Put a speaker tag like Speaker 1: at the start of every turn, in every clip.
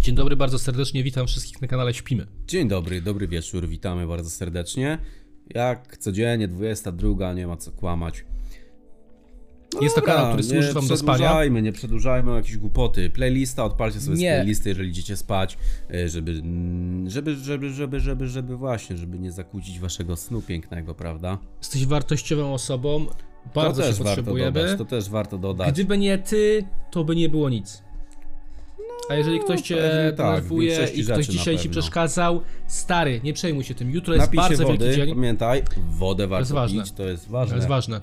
Speaker 1: Dzień dobry, bardzo serdecznie witam wszystkich na kanale Śpimy.
Speaker 2: Dzień dobry, dobry wieczór, witamy bardzo serdecznie. Jak codziennie, 22, nie ma co kłamać. No
Speaker 1: Jest to
Speaker 2: dobra,
Speaker 1: kanał, który służy wam do
Speaker 2: Nie
Speaker 1: spania.
Speaker 2: przedłużajmy, nie przedłużajmy jakieś głupoty. Playlista, odpalcie sobie
Speaker 1: Nie.
Speaker 2: z playlisty, jeżeli idziecie spać, y, żeby, mm, żeby, żeby, żeby, żeby, żeby właśnie, żeby nie zakłócić waszego snu pięknego, prawda?
Speaker 1: Jesteś wartościową osobą, bardzo
Speaker 2: to też
Speaker 1: się
Speaker 2: warto
Speaker 1: potrzebujemy.
Speaker 2: dodać, to też warto dodać.
Speaker 1: Gdyby nie ty, to by nie było nic. A jeżeli ktoś cię
Speaker 2: pewnie tak, w
Speaker 1: denerwuje
Speaker 2: większości
Speaker 1: i ktoś
Speaker 2: rzeczy na
Speaker 1: dzisiaj ci
Speaker 2: pewno.
Speaker 1: przeszkadzał, stary, nie przejmuj się tym. Jutro jest
Speaker 2: Napij się
Speaker 1: bardzo
Speaker 2: wody,
Speaker 1: wielki dzień.
Speaker 2: pamiętaj, wodę warto
Speaker 1: ważne.
Speaker 2: pić, to jest
Speaker 1: To
Speaker 2: ważne.
Speaker 1: jest ważne.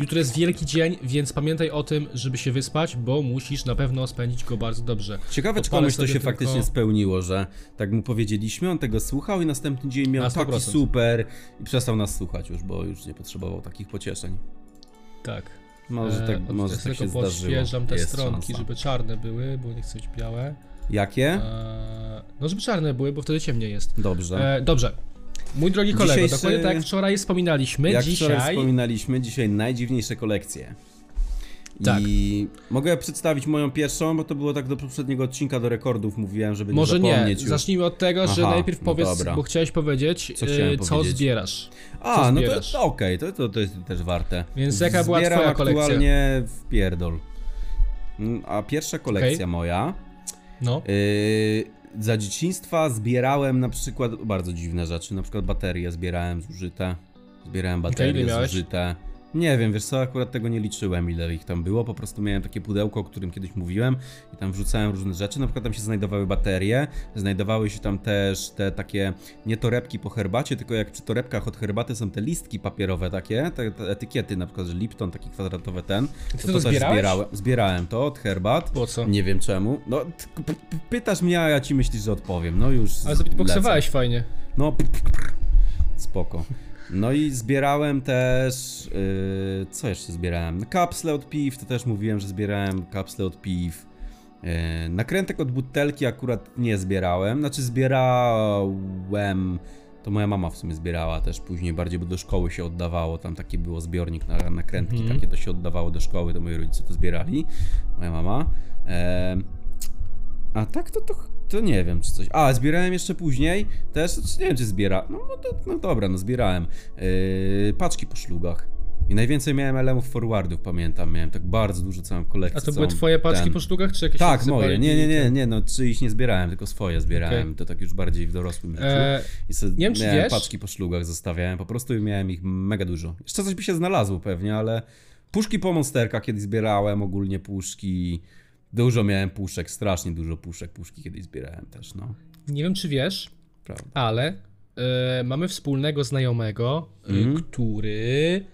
Speaker 1: Jutro jest wielki dzień, więc pamiętaj o tym, żeby się wyspać, bo musisz na pewno spędzić go bardzo dobrze.
Speaker 2: Ciekawe, czy
Speaker 1: Odpalę
Speaker 2: komuś to
Speaker 1: sobie
Speaker 2: się
Speaker 1: tylko-
Speaker 2: faktycznie spełniło, że tak mu powiedzieliśmy, on tego słuchał i następny dzień
Speaker 1: Na
Speaker 2: miał
Speaker 1: 100%.
Speaker 2: taki super i przestał nas słuchać już, bo już nie potrzebował takich pocieszeń.
Speaker 1: Tak.
Speaker 2: Może
Speaker 1: E,
Speaker 2: tak,
Speaker 1: od-
Speaker 2: może tak
Speaker 1: tylko
Speaker 2: się zdarzyło.
Speaker 1: podświeżam te
Speaker 2: Jest
Speaker 1: stronki,
Speaker 2: szansa.
Speaker 1: żeby czarne były, bo nie chcę mieć białe.
Speaker 2: Jakie?
Speaker 1: E, no, żeby czarne były, bo wtedy ciemniej jest.
Speaker 2: Dobrze.
Speaker 1: E, dobrze. Mój drogi kolego,
Speaker 2: Dzisiejszy-
Speaker 1: dokładnie tak jak wczoraj wspominaliśmy,
Speaker 2: Jak wczoraj
Speaker 1: dzisiaj
Speaker 2: wspominaliśmy, dzisiaj najdziwniejsze kolekcje.
Speaker 1: Tak.
Speaker 2: I mogę przedstawić moją pierwszą, bo to było tak do poprzedniego odcinka, do rekordów mówiłem, żeby
Speaker 1: może
Speaker 2: nie
Speaker 1: nie.
Speaker 2: zapomnieć już.
Speaker 1: Zacznijmy od tego, że
Speaker 2: Aha,
Speaker 1: najpierw
Speaker 2: no
Speaker 1: powiedz,
Speaker 2: dobra.
Speaker 1: bo chciałeś powiedzieć,
Speaker 2: Co
Speaker 1: y,
Speaker 2: chciałem
Speaker 1: co
Speaker 2: powiedzieć?
Speaker 1: zbierasz.
Speaker 2: A, no to,
Speaker 1: zbierasz?
Speaker 2: to okej, to, to, to jest też warte.
Speaker 1: Więc jaka była
Speaker 2: Zbieram
Speaker 1: twoja kolekcja?
Speaker 2: aktualnie w pierdol. Mm, A pierwsza kolekcja
Speaker 1: Okej.
Speaker 2: moja.
Speaker 1: No.
Speaker 2: Yy, za dzieciństwa zbierałem na przykład bardzo dziwne rzeczy, na przykład baterie zbierałem zużyte. Zbierałem baterie
Speaker 1: ile miałeś?
Speaker 2: zużyte. Nie wiem, wiesz co, akurat tego nie liczyłem, ile ich tam było. Po prostu miałem takie pudełko, o którym kiedyś mówiłem i tam wrzucałem różne rzeczy. Na przykład tam się znajdowały baterie, znajdowały się tam też te takie nie torebki po herbacie, tylko jak przy torebkach od herbaty są te listki papierowe takie, te, te etykiety, na przykład, że Lipton, taki kwadratowy ten.
Speaker 1: Ty to zbierałeś?
Speaker 2: zbierałem. Zbierałem to od herbat.
Speaker 1: Po co?
Speaker 2: Nie wiem czemu. No, t- p- p- pytasz mnie, a ja ci myślisz, że odpowiem. No już.
Speaker 1: Ale zabitboxowałeś fajnie.
Speaker 2: lecę. No, p- p- p- spoko. No i zbierałem też. Yy, co jeszcze zbierałem? Kapsle od piw, to też mówiłem, że zbierałem kapsle od piw. Yy, nakrętek od butelki akurat nie zbierałem. Znaczy, zbierałem. To moja mama w sumie zbierała też później bardziej, bo do szkoły się oddawało. Tam taki było zbiornik na nakrętki,
Speaker 1: Mhm.
Speaker 2: takie to się oddawało do szkoły, to moi rodzice to zbierali. Moja mama. E, Em, a tak to, to, to nie wiem, czy coś. A, zbierałem jeszcze później też, czy nie wiem, czy zbiera. No, no, to, no dobra, no zbierałem. Yy, paczki po szlugach. I najwięcej miałem elemów forwardów, pamiętam. Miałem tak bardzo dużo całą kolekcję.
Speaker 1: A to
Speaker 2: całą
Speaker 1: były twoje paczki
Speaker 2: ten-
Speaker 1: po sztukach, czy jakieś
Speaker 2: Tak,
Speaker 1: obce
Speaker 2: moje.
Speaker 1: parki?
Speaker 2: Nie, nie, nie, nie, no czyichś nie zbierałem, tylko swoje zbierałem.
Speaker 1: Okej.
Speaker 2: To tak już bardziej w dorosłym życiu.
Speaker 1: E,
Speaker 2: I se,
Speaker 1: nie wiem, czy
Speaker 2: miałem
Speaker 1: wiesz-
Speaker 2: paczki po szlugach, zostawiałem. Po prostu i miałem ich mega dużo. Jeszcze coś by się znalazło pewnie, ale puszki po monsterka kiedyś zbierałem, ogólnie puszki. Dużo miałem puszek, strasznie dużo puszek. Puszki kiedyś zbierałem też, no.
Speaker 1: nie wiem, czy wiesz,
Speaker 2: Prawda.
Speaker 1: ale y, mamy wspólnego znajomego, y,
Speaker 2: Mhm.
Speaker 1: który,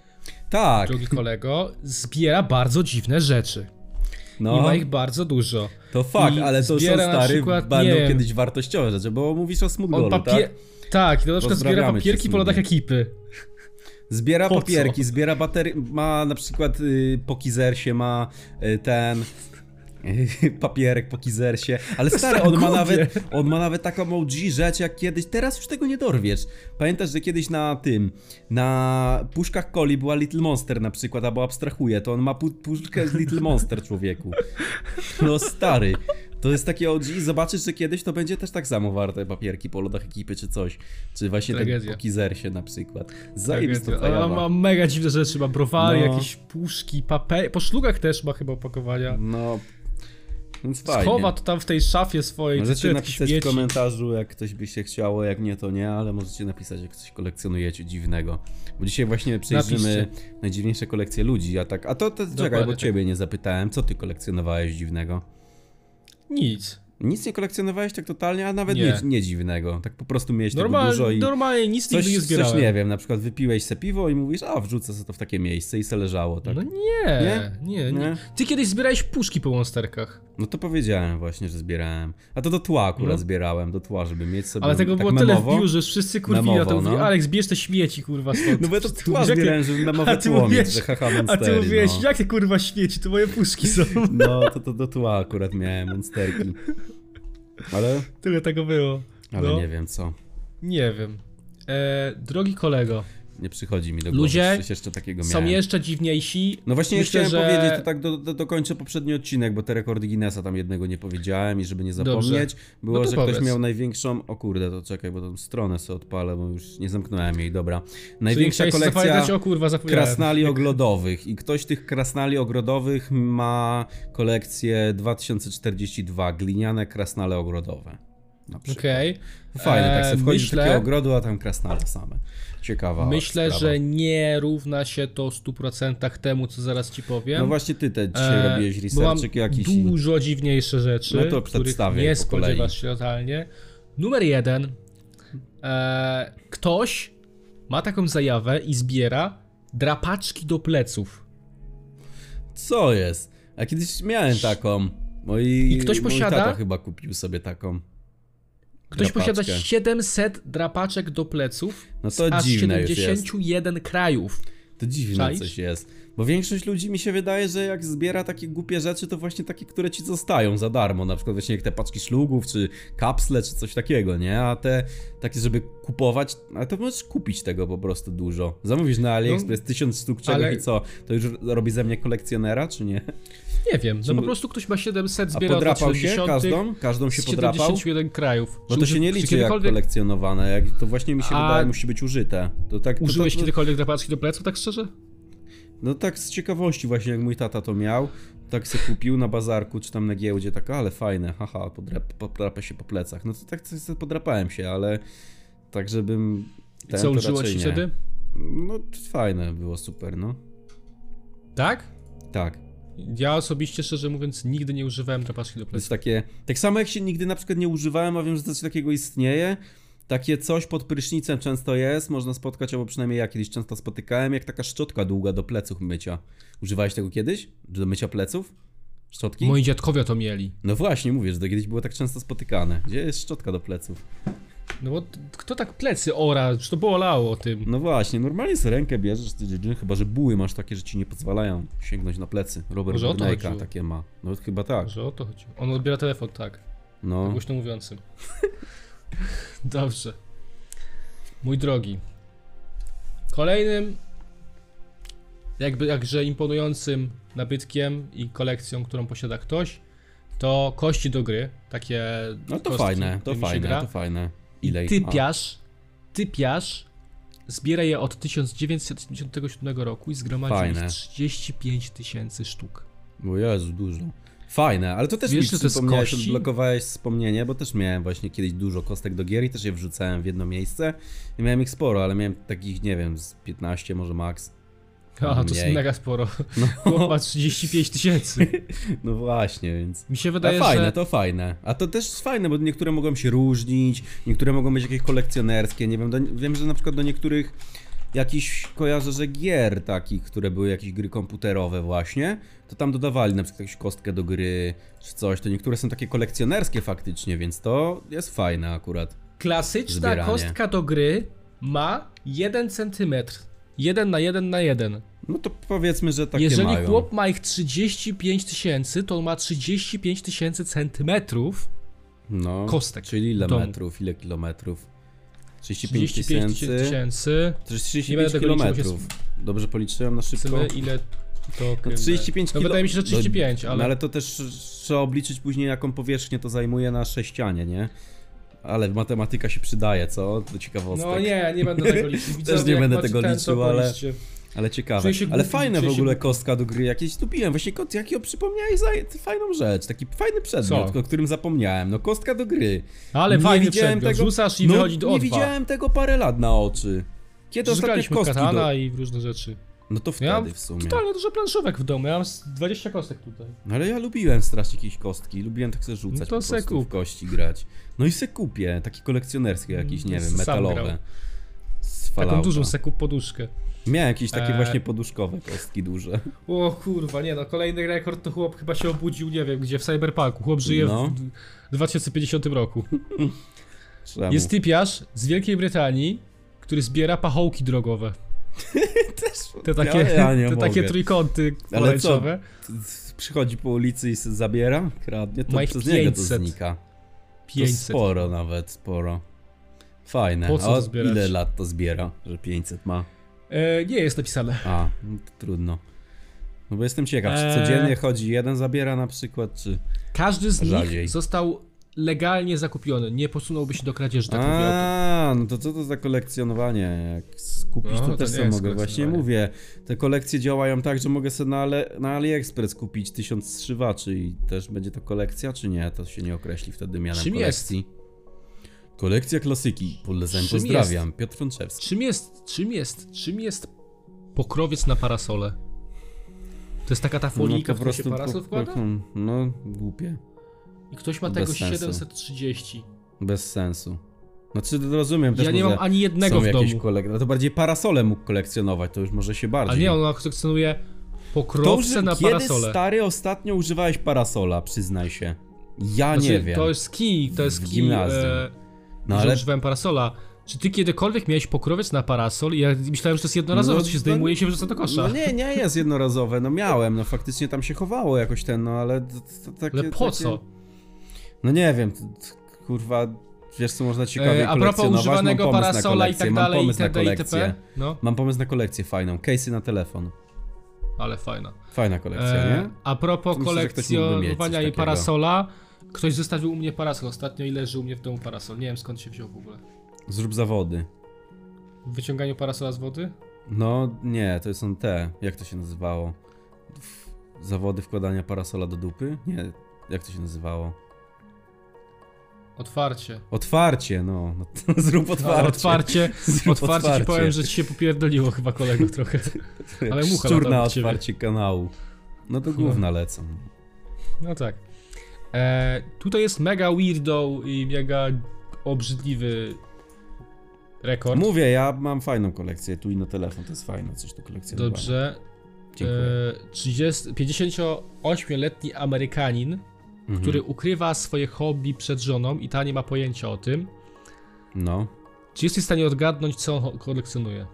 Speaker 2: Tak,
Speaker 1: drogi kolego, zbiera bardzo dziwne rzeczy. I
Speaker 2: no.
Speaker 1: ma ich bardzo dużo.
Speaker 2: To fakt,
Speaker 1: i
Speaker 2: ale to są
Speaker 1: zbiera na
Speaker 2: stary,
Speaker 1: przykład,
Speaker 2: będą
Speaker 1: nie wiem.
Speaker 2: kiedyś wartościowe rzeczy, bo mówisz o
Speaker 1: On
Speaker 2: Smugglolu,
Speaker 1: papier...
Speaker 2: tak?
Speaker 1: Tak, to na przykład zbiera
Speaker 2: Pozdrawiamy cię,
Speaker 1: papierki po lodach
Speaker 2: Smuggy.
Speaker 1: ekipy.
Speaker 2: Zbiera
Speaker 1: Po co?
Speaker 2: papierki, zbiera baterie, ma na przykład y, po kizersie ma y, ten y, papierek po kizersie, ale stary,
Speaker 1: tak
Speaker 2: on ma,
Speaker 1: głupie.
Speaker 2: nawet, on ma nawet taką OG rzecz jak kiedyś, teraz już tego nie dorwiesz. Pamiętasz, że kiedyś na tym, na puszkach coli była Little Monster na przykład, albo abstrahuję, to on ma pu- puszkę z Little Monster, człowieku. No stary, to jest takie OG i zobaczysz, że kiedyś to będzie też tak samo warte papierki po lodach ekipy czy coś, czy właśnie ten
Speaker 1: Tragedia.
Speaker 2: po kizersie na przykład.
Speaker 1: No Tak,
Speaker 2: Zajebista
Speaker 1: Tragedia.
Speaker 2: zajawa.
Speaker 1: A ma mega dziwne rzeczy, ma browary,
Speaker 2: No.
Speaker 1: jakieś puszki, papier... Po szlugach też ma chyba opakowania.
Speaker 2: No, więc fajnie.
Speaker 1: Schowa to tam w tej szafie swojej.
Speaker 2: Możecie
Speaker 1: cytrytki,
Speaker 2: napisać w
Speaker 1: śmieci.
Speaker 2: komentarzu, jak ktoś by się chciało, jak nie to nie, ale możecie napisać, jak coś kolekcjonujecie dziwnego. Bo dzisiaj właśnie przejrzymy najdziwniejsze kolekcje ludzi, a tak... A to, to czekaj, bo
Speaker 1: tak.
Speaker 2: ciebie nie zapytałem, co ty kolekcjonowałeś dziwnego?
Speaker 1: Nic.
Speaker 2: Nic nie kolekcjonowałeś tak totalnie, a nawet
Speaker 1: Nie.
Speaker 2: nie, nie dziwnego. Tak po prostu miałeś tego dużo
Speaker 1: Normal,
Speaker 2: i...
Speaker 1: Normalnie nic
Speaker 2: Coś,
Speaker 1: nigdy nie zbierałem.
Speaker 2: coś nie wiem, na przykład wypiłeś se piwo i mówisz, a wrzucę sobie to w takie miejsce i se leżało, tak?
Speaker 1: No
Speaker 2: No,
Speaker 1: nie, nie, nie,
Speaker 2: Nie?
Speaker 1: Ty kiedyś zbierałeś puszki po monsterkach.
Speaker 2: No to powiedziałem właśnie, że zbierałem. A to do tła akurat
Speaker 1: No.
Speaker 2: zbierałem, do tła, żeby mieć sobie
Speaker 1: Ale tego
Speaker 2: tak
Speaker 1: było
Speaker 2: memowo.
Speaker 1: tyle w biurze, że wszyscy kurwili na to
Speaker 2: Memowo,
Speaker 1: mówili,
Speaker 2: no.
Speaker 1: Aleks, bierz te śmieci, kurwa, stąd.
Speaker 2: No bo ja to
Speaker 1: Przecież ty
Speaker 2: tła
Speaker 1: mówisz, jakie-
Speaker 2: zbierałem, żeby memowe
Speaker 1: a ty
Speaker 2: tłumić,
Speaker 1: mówisz-
Speaker 2: że haha
Speaker 1: A ty
Speaker 2: monstery,
Speaker 1: mówiłeś,
Speaker 2: no.
Speaker 1: jakie kurwa śmieci, to moje puszki są.
Speaker 2: No, to, to do tła akurat miałem monsterki. Ale,
Speaker 1: Tyle tego było.
Speaker 2: ale
Speaker 1: no,
Speaker 2: nie wiem co.
Speaker 1: nie wiem. E, drogi kolego,
Speaker 2: nie przychodzi mi do głowy,
Speaker 1: Ludzie
Speaker 2: że coś jeszcze takiego
Speaker 1: Są
Speaker 2: miałem.
Speaker 1: jeszcze dziwniejsi.
Speaker 2: No właśnie
Speaker 1: Myślę,
Speaker 2: chciałem
Speaker 1: że-
Speaker 2: powiedzieć, to tak do, do, dokończę poprzedni odcinek, bo te rekordy Guinnessa tam jednego nie powiedziałem i żeby nie
Speaker 1: Dobrze.
Speaker 2: zapomnieć, było,
Speaker 1: No to
Speaker 2: że
Speaker 1: powiedz.
Speaker 2: ktoś miał największą, o kurde, to czekaj, bo tą stronę sobie odpalę, bo już nie zamknąłem jej, dobra. Największa
Speaker 1: Czyli chciałeś
Speaker 2: kolekcja
Speaker 1: zapamiętać? O kurwa, zapomniałem.
Speaker 2: krasnali oglodowych i ktoś tych krasnali ogrodowych ma kolekcję 2042, gliniane krasnale ogrodowe. Na przykład.
Speaker 1: Okej.
Speaker 2: Fajnie, tak
Speaker 1: Eee,
Speaker 2: sobie wchodzisz do
Speaker 1: myślę-
Speaker 2: takiego ogrodu, a tam krasnale same. Ciekawa
Speaker 1: Myślę,
Speaker 2: sprawa.
Speaker 1: że nie równa się to 100% temu, co zaraz ci powiem.
Speaker 2: No właśnie ty te dzisiaj
Speaker 1: E,
Speaker 2: robiłeś
Speaker 1: bo mam
Speaker 2: researchik jakiś i-
Speaker 1: Dużo dziwniejsze rzeczy,
Speaker 2: No to
Speaker 1: których
Speaker 2: przedstawię
Speaker 1: nie
Speaker 2: po kolei.
Speaker 1: spodziewasz się totalnie. Numer jeden. E, ktoś ma taką zajawę i zbiera drapaczki do pleców.
Speaker 2: Co jest? A kiedyś miałem taką. Moi,
Speaker 1: I ktoś
Speaker 2: mój
Speaker 1: posiada?
Speaker 2: Tata chyba kupił sobie taką.
Speaker 1: Ktoś
Speaker 2: drapaczkę.
Speaker 1: posiada 700 drapaczek do pleców
Speaker 2: No to
Speaker 1: aż
Speaker 2: dziwne już jest.
Speaker 1: 71 krajów.
Speaker 2: To dziwne
Speaker 1: Czaisz?
Speaker 2: coś jest. Bo większość ludzi mi się wydaje, że jak zbiera takie głupie rzeczy, to właśnie takie, które ci zostają za darmo. Na przykład właśnie jak te paczki szlugów, czy kapsle, czy coś takiego, nie? A te takie, żeby kupować, a to możesz kupić tego po prostu dużo. Zamówisz na AliExpress tysiąc sztuk czegoś
Speaker 1: No, ale-
Speaker 2: i co? To już robi ze mnie kolekcjonera, czy nie?
Speaker 1: Nie wiem, no
Speaker 2: Czemu-
Speaker 1: po prostu ktoś ma 700
Speaker 2: A
Speaker 1: zbiera od
Speaker 2: podrapał się
Speaker 1: 80
Speaker 2: każdą? Każdą się
Speaker 1: z
Speaker 2: podrapał?
Speaker 1: 71 krajów.
Speaker 2: No
Speaker 1: Czy
Speaker 2: to się
Speaker 1: uży-
Speaker 2: nie
Speaker 1: czy
Speaker 2: liczy jak
Speaker 1: kiedykolwiek-
Speaker 2: kolekcjonowane, jak to właśnie mi się
Speaker 1: A-
Speaker 2: wydaje, musi być użyte. To tak, to,
Speaker 1: Użyłeś
Speaker 2: to, to,
Speaker 1: kiedykolwiek drapaczki do pleców, tak szczerze?
Speaker 2: No tak z ciekawości właśnie, jak mój tata to miał, tak se kupił na bazarku czy tam na giełdzie, tak, ale fajne, haha, podrap, podrapę się po plecach. No to tak coś se podrapałem się, ale tak żebym... ten,
Speaker 1: Co
Speaker 2: Tak, to
Speaker 1: użyło
Speaker 2: raczej
Speaker 1: ci
Speaker 2: nie.
Speaker 1: wtedy?
Speaker 2: No to fajne, było super, no.
Speaker 1: Tak?
Speaker 2: Tak,
Speaker 1: Ja osobiście, szczerze mówiąc, nigdy nie używałem drapaczki do
Speaker 2: to
Speaker 1: pleców.
Speaker 2: jest takie... Tak samo jak się nigdy na przykład nie używałem, a wiem, że coś takiego istnieje, takie coś pod prysznicem często jest, można spotkać, albo przynajmniej ja kiedyś często spotykałem, jak taka szczotka długa do pleców mycia. Używałeś tego kiedyś? Do mycia pleców? Szczotki?
Speaker 1: Moi dziadkowie to mieli.
Speaker 2: No właśnie, mówię, że to kiedyś było tak często spotykane. Gdzie jest szczotka do pleców?
Speaker 1: No bo t- kto tak plecy ora? Czy to bolało o tym?
Speaker 2: No właśnie, normalnie sobie rękę bierzesz, ty, ty, ty, chyba że buły masz takie, że ci nie pozwalają sięgnąć na plecy. Robert
Speaker 1: Może o to
Speaker 2: Bernayka
Speaker 1: chodziło?
Speaker 2: takie ma. No chyba tak.
Speaker 1: Że o to chodziło. On odbiera telefon, tak.
Speaker 2: No,
Speaker 1: Głośno mówiącym. Dobrze. Mój drogi. Kolejnym, jakby jakże imponującym nabytkiem i kolekcją, którą posiada ktoś, to kości do gry. Takie.
Speaker 2: no to
Speaker 1: kostki,
Speaker 2: fajne, to
Speaker 1: którymi się
Speaker 2: fajne,
Speaker 1: gra.
Speaker 2: to fajne.
Speaker 1: I
Speaker 2: ich ma?
Speaker 1: typiarz, typiarz zbiera je od 1977 roku i zgromadził
Speaker 2: Fajne.
Speaker 1: ich 35 tysięcy sztuk.
Speaker 2: Bo Jezu, dużo. Fajne, ale to też
Speaker 1: Wiesz,
Speaker 2: mi
Speaker 1: że to jest
Speaker 2: przypomniałeś,
Speaker 1: kości?
Speaker 2: odblokowałeś wspomnienie, bo też miałem właśnie kiedyś dużo kostek do gier i też je wrzucałem w jedno miejsce. I miałem ich sporo, ale miałem takich, nie wiem, z 15 może max. No,
Speaker 1: A, to jest
Speaker 2: Mniej.
Speaker 1: mega sporo.
Speaker 2: No.
Speaker 1: Chłop ma 35 tysięcy.
Speaker 2: No właśnie, więc...
Speaker 1: Mi się
Speaker 2: A
Speaker 1: wydaje,
Speaker 2: No, fajne,
Speaker 1: że...
Speaker 2: to fajne. A to też jest fajne, bo niektóre mogą się różnić, niektóre mogą być jakieś kolekcjonerskie, nie wiem, do, wiem, że na przykład do niektórych jakiś kojarzę, że gier takich, które były jakieś gry komputerowe właśnie, to tam dodawali na przykład jakąś kostkę do gry czy coś, to niektóre są takie kolekcjonerskie faktycznie, więc to jest fajne akurat.
Speaker 1: Klasyczna
Speaker 2: Zbieranie.
Speaker 1: kostka do gry ma 1 cm. 1 na 1 na 1.
Speaker 2: No to powiedzmy, że takie
Speaker 1: Jeżeli
Speaker 2: mają.
Speaker 1: chłop ma ich 35 tysięcy, to on ma 35 tysięcy centymetrów.
Speaker 2: no,
Speaker 1: kostek
Speaker 2: Czyli ile
Speaker 1: w domu.
Speaker 2: metrów, ile kilometrów? 35
Speaker 1: 35
Speaker 2: tysięcy?
Speaker 1: tysięcy.
Speaker 2: To jest
Speaker 1: Nie będę
Speaker 2: 35
Speaker 1: tego liczył, bo się
Speaker 2: kilometrów. Dobrze policzyłem na szybko.
Speaker 1: Zobaczymy ile to...
Speaker 2: No 35
Speaker 1: no,
Speaker 2: kilo-
Speaker 1: Wydaje mi się, że 35,
Speaker 2: no,
Speaker 1: ale...
Speaker 2: No ale to też trzeba obliczyć później, jaką powierzchnię to zajmuje na sześcianie, nie? Ale matematyka się przydaje, co? To ciekawostek.
Speaker 1: No nie, nie będę tego liczył. Widzowie,
Speaker 2: nie
Speaker 1: jak
Speaker 2: będę
Speaker 1: macie
Speaker 2: tego
Speaker 1: ten, to
Speaker 2: liczył, ale-
Speaker 1: policzcie.
Speaker 2: Ale ciekawe.
Speaker 1: Czuję się
Speaker 2: Ale
Speaker 1: głupi,
Speaker 2: fajne w
Speaker 1: czuję się
Speaker 2: ogóle
Speaker 1: głupi.
Speaker 2: kostka do gry jakieś lubiłem. Właśnie kot, jakiego przypomniałeś za ty- fajną rzecz. Taki fajny przedmiot,
Speaker 1: Co?
Speaker 2: o którym zapomniałem. No kostka do gry.
Speaker 1: Ale
Speaker 2: Nie
Speaker 1: fajny
Speaker 2: widziałem
Speaker 1: przedmiot,
Speaker 2: tego-
Speaker 1: rzucasz i
Speaker 2: no,
Speaker 1: wychodzi do
Speaker 2: nie
Speaker 1: odwa.
Speaker 2: widziałem tego parę lat na oczy. Kiedy ostatnio
Speaker 1: Rzucaliśmy
Speaker 2: kostki
Speaker 1: katana
Speaker 2: do...
Speaker 1: i w różne rzeczy.
Speaker 2: No to
Speaker 1: Ja
Speaker 2: wtedy
Speaker 1: mam
Speaker 2: w sumie.
Speaker 1: totalnie dużo planszówek w domu, ja mam z 20 kostek tutaj.
Speaker 2: No ale ja lubiłem strasznie jakieś kostki, lubiłem tak sobie rzucać
Speaker 1: No to
Speaker 2: po
Speaker 1: se
Speaker 2: prostu
Speaker 1: kup.
Speaker 2: w kości grać. No i se kupię, takie kolekcjonerskie jakieś, nie
Speaker 1: Mm,
Speaker 2: wiem,
Speaker 1: sam grał.
Speaker 2: metalowe. Z
Speaker 1: Taką
Speaker 2: Fallouta.
Speaker 1: dużą seku poduszkę.
Speaker 2: Miałem jakieś takie
Speaker 1: Eee.
Speaker 2: właśnie poduszkowe kostki duże.
Speaker 1: O kurwa, nie no, kolejny rekord to chłop chyba się obudził, nie wiem gdzie, w Cyberpunku. Chłop żyje
Speaker 2: No.
Speaker 1: w d- 2050 roku.
Speaker 2: Czemu?
Speaker 1: Jest typiarz z Wielkiej Brytanii, który zbiera pachołki drogowe.
Speaker 2: też...
Speaker 1: Te takie,
Speaker 2: ja, ja nie
Speaker 1: te
Speaker 2: mogę.
Speaker 1: takie trójkąty
Speaker 2: co?
Speaker 1: pomarańczowe.
Speaker 2: Przychodzi po ulicy i se zabiera, kradnie,
Speaker 1: Ma
Speaker 2: to
Speaker 1: ich
Speaker 2: przez niego to
Speaker 1: 500.
Speaker 2: znika. To
Speaker 1: 500.
Speaker 2: sporo nawet, sporo. Fajne.
Speaker 1: Po co
Speaker 2: A
Speaker 1: to
Speaker 2: od
Speaker 1: zbierać?
Speaker 2: ile lat to zbiera, że 500 ma?
Speaker 1: E, nie jest napisane.
Speaker 2: A, no to trudno. No bo jestem ciekaw, czy
Speaker 1: Eee.
Speaker 2: codziennie chodzi jeden zabiera na przykład, czy...
Speaker 1: Każdy z
Speaker 2: Rzadziej.
Speaker 1: nich został legalnie zakupiony. Nie posunąłby się do kradzieży tak mówię.
Speaker 2: A, no to co to za kolekcjonowanie? Jak skupić
Speaker 1: No,
Speaker 2: to,
Speaker 1: to
Speaker 2: też
Speaker 1: nie
Speaker 2: co
Speaker 1: jest
Speaker 2: mogę. Właśnie
Speaker 1: kolekcjonowanie.
Speaker 2: mówię, te kolekcje działają tak, że mogę sobie na, Ale, na AliExpress kupić tysiąc strzywaczy i też będzie to kolekcja, czy nie? To się nie określi wtedy mianem
Speaker 1: Czym jest?
Speaker 2: kolekcji. Kolekcja klasyki. Polecam,
Speaker 1: Czym
Speaker 2: pozdrawiam. Piotr Franczewski.
Speaker 1: Czym jest, czym jest, czym jest pokrowiec na parasole? To jest taka ta folika, w którą się parasol wkłada?
Speaker 2: no, głupie.
Speaker 1: I ktoś ma tego
Speaker 2: bez sensu.
Speaker 1: 730.
Speaker 2: Bez sensu. Znaczy, to rozumiem też
Speaker 1: Ja nie
Speaker 2: może
Speaker 1: mam ani jednego
Speaker 2: są
Speaker 1: w
Speaker 2: jakieś
Speaker 1: domu.
Speaker 2: kolek- No to bardziej parasole mógł kolekcjonować, to już może się bardziej.
Speaker 1: Ale nie, on kolekcjonuje pokrowce
Speaker 2: że-
Speaker 1: na
Speaker 2: kiedy
Speaker 1: parasole.
Speaker 2: stary ostatnio używałeś parasola, przyznaj się. Ja nie wiem.
Speaker 1: Znaczy, To jest kij, to jest
Speaker 2: W
Speaker 1: kij,
Speaker 2: gimnazjum.
Speaker 1: e,
Speaker 2: No
Speaker 1: że
Speaker 2: ale-
Speaker 1: używałem parasola. Czy ty kiedykolwiek miałeś pokrowiec na parasol? Ja myślałem, że to jest jednorazowe,
Speaker 2: No,
Speaker 1: to się
Speaker 2: no-
Speaker 1: zdejmuje i się wrzuca do kosza.
Speaker 2: No nie, nie jest jednorazowe, no miałem, no faktycznie tam się chowało jakoś ten, no ale to, to takie...
Speaker 1: Ale po
Speaker 2: takie-
Speaker 1: co?
Speaker 2: No nie wiem, to, to, kurwa, wiesz co można ciekawie
Speaker 1: E, a propos
Speaker 2: kolekcjonować?
Speaker 1: używanego
Speaker 2: Mam pomysł na
Speaker 1: parasola i
Speaker 2: kolekcję,
Speaker 1: tak
Speaker 2: mam
Speaker 1: dalej,
Speaker 2: pomysł na
Speaker 1: itd. itp.
Speaker 2: kolekcję.
Speaker 1: No,
Speaker 2: Mam pomysł na kolekcję fajną, case'y na telefon.
Speaker 1: ale fajna.
Speaker 2: Fajna kolekcja,
Speaker 1: E,
Speaker 2: nie?
Speaker 1: a propos
Speaker 2: Myślę, że ktoś mógłby mieć coś
Speaker 1: kolekcjonowania i
Speaker 2: takiego.
Speaker 1: parasola, ktoś zostawił u mnie parasol ostatnio i leży u mnie w domu parasol. Nie wiem skąd się wziął w ogóle.
Speaker 2: Zrób zawody.
Speaker 1: W wyciąganiu parasola z wody?
Speaker 2: No nie, to są te, jak to się nazywało? W- Zawody wkładania parasola do dupy? Nie, jak to się nazywało?
Speaker 1: Otwarcie.
Speaker 2: Otwarcie, no. no to zrób otwarcie.
Speaker 1: Otwarcie,
Speaker 2: Zrób
Speaker 1: otwarcie ci powiem, że ci się popierdoliło chyba kolego trochę. ale mucha
Speaker 2: Szczur
Speaker 1: lata
Speaker 2: na
Speaker 1: od ciebie.
Speaker 2: otwarcie kanału. No to główna lecą.
Speaker 1: No tak. E, tutaj jest mega weirdo i mega obrzydliwy rekord.
Speaker 2: Mówię, ja mam fajną kolekcję. Tu i na telefon to jest fajne, coś tu kolekcja.
Speaker 1: Dobrze.
Speaker 2: Dziękuję.
Speaker 1: E, 30, 58-letni Amerykanin,
Speaker 2: Mhm.
Speaker 1: który ukrywa swoje hobby przed żoną i ta nie ma pojęcia o tym.
Speaker 2: No,
Speaker 1: Czy jesteś w stanie odgadnąć, co on kolekcjonuje?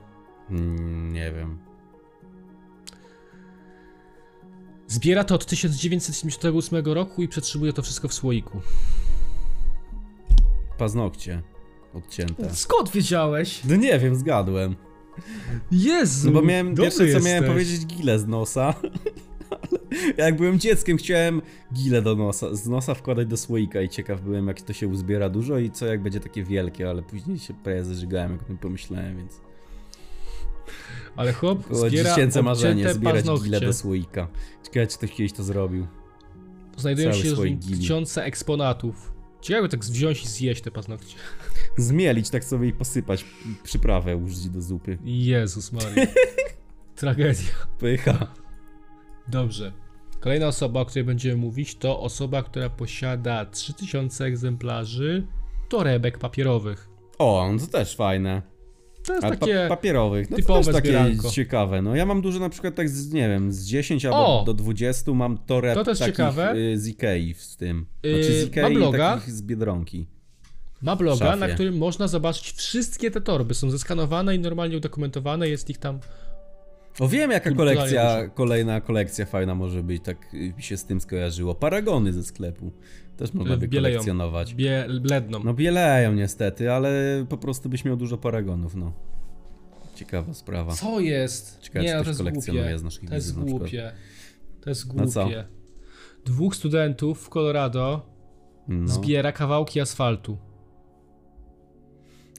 Speaker 2: Mm, nie wiem.
Speaker 1: Zbiera to od 1978 roku i przetrzymuje to wszystko w słoiku.
Speaker 2: Paznokcie odcięte.
Speaker 1: Skąd wiedziałeś?
Speaker 2: No nie wiem, zgadłem.
Speaker 1: Jezu!
Speaker 2: No bo miałem,
Speaker 1: Mm, dobry
Speaker 2: pierwsze co miałem
Speaker 1: jesteś.
Speaker 2: powiedzieć, gile z nosa. Ale jak byłem dzieckiem, chciałem gile do nosa, z nosa wkładać do słoika i ciekaw byłem, jak to się uzbiera dużo i co jak będzie takie wielkie, ale później się prawie zażygałem, jak o tym pomyślałem, więc
Speaker 1: Ale chłop
Speaker 2: było
Speaker 1: zbiera
Speaker 2: dziecięce marzenie,
Speaker 1: obcięte
Speaker 2: zbierać
Speaker 1: paznokcie.
Speaker 2: gile do słoika. Ciekawe, czy ktoś kiedyś to zrobił.
Speaker 1: Znajdują
Speaker 2: Cały
Speaker 1: się
Speaker 2: słoik
Speaker 1: w
Speaker 2: gili.
Speaker 1: nim tysiące eksponatów. Ciekawe tak wziąć i zjeść te paznokcie.
Speaker 2: Zmielić tak sobie i posypać przyprawę użyć do zupy.
Speaker 1: Jezus Maria. Tragedia.
Speaker 2: Pycha.
Speaker 1: Dobrze. Kolejna osoba, o której będziemy mówić, to osoba, która posiada 3000 egzemplarzy torebek papierowych.
Speaker 2: O, no to też fajne.
Speaker 1: To jest
Speaker 2: Ale pa
Speaker 1: takie...
Speaker 2: papierowych, no to
Speaker 1: typowe
Speaker 2: też takie
Speaker 1: zbieranko.
Speaker 2: ciekawe. No ja mam dużo na przykład tak z, nie wiem, z 10 albo
Speaker 1: O!
Speaker 2: do 20 mam toreb
Speaker 1: To też
Speaker 2: takich
Speaker 1: ciekawe.
Speaker 2: y, z Ikei w- z tym.
Speaker 1: Yy,
Speaker 2: Znaczy z Ikei
Speaker 1: mam
Speaker 2: i
Speaker 1: bloga.
Speaker 2: takich z Biedronki.
Speaker 1: Ma bloga,
Speaker 2: Szafie.
Speaker 1: na którym można zobaczyć wszystkie te torby. Są zeskanowane i normalnie udokumentowane. Jest ich tam...
Speaker 2: O wiem jaka
Speaker 1: Kulturalnie
Speaker 2: kolekcja, kolejna kolekcja fajna może być, tak y, mi się z tym skojarzyło. Paragony ze sklepu. Też można
Speaker 1: W
Speaker 2: by
Speaker 1: Bieleją.
Speaker 2: kolekcjonować.
Speaker 1: Bie... Bledną.
Speaker 2: No bieleją niestety, ale po prostu byś miał dużo paragonów, no. Ciekawa sprawa.
Speaker 1: Co jest?
Speaker 2: Ciekawe,
Speaker 1: nie,
Speaker 2: czy
Speaker 1: no
Speaker 2: ktoś
Speaker 1: to jest
Speaker 2: kolekcjonuje
Speaker 1: głupie.
Speaker 2: z naszych
Speaker 1: To jest
Speaker 2: widzów na przykład.
Speaker 1: głupie. To jest
Speaker 2: No co?
Speaker 1: głupie. Dwóch studentów w Colorado
Speaker 2: No.
Speaker 1: zbiera kawałki asfaltu.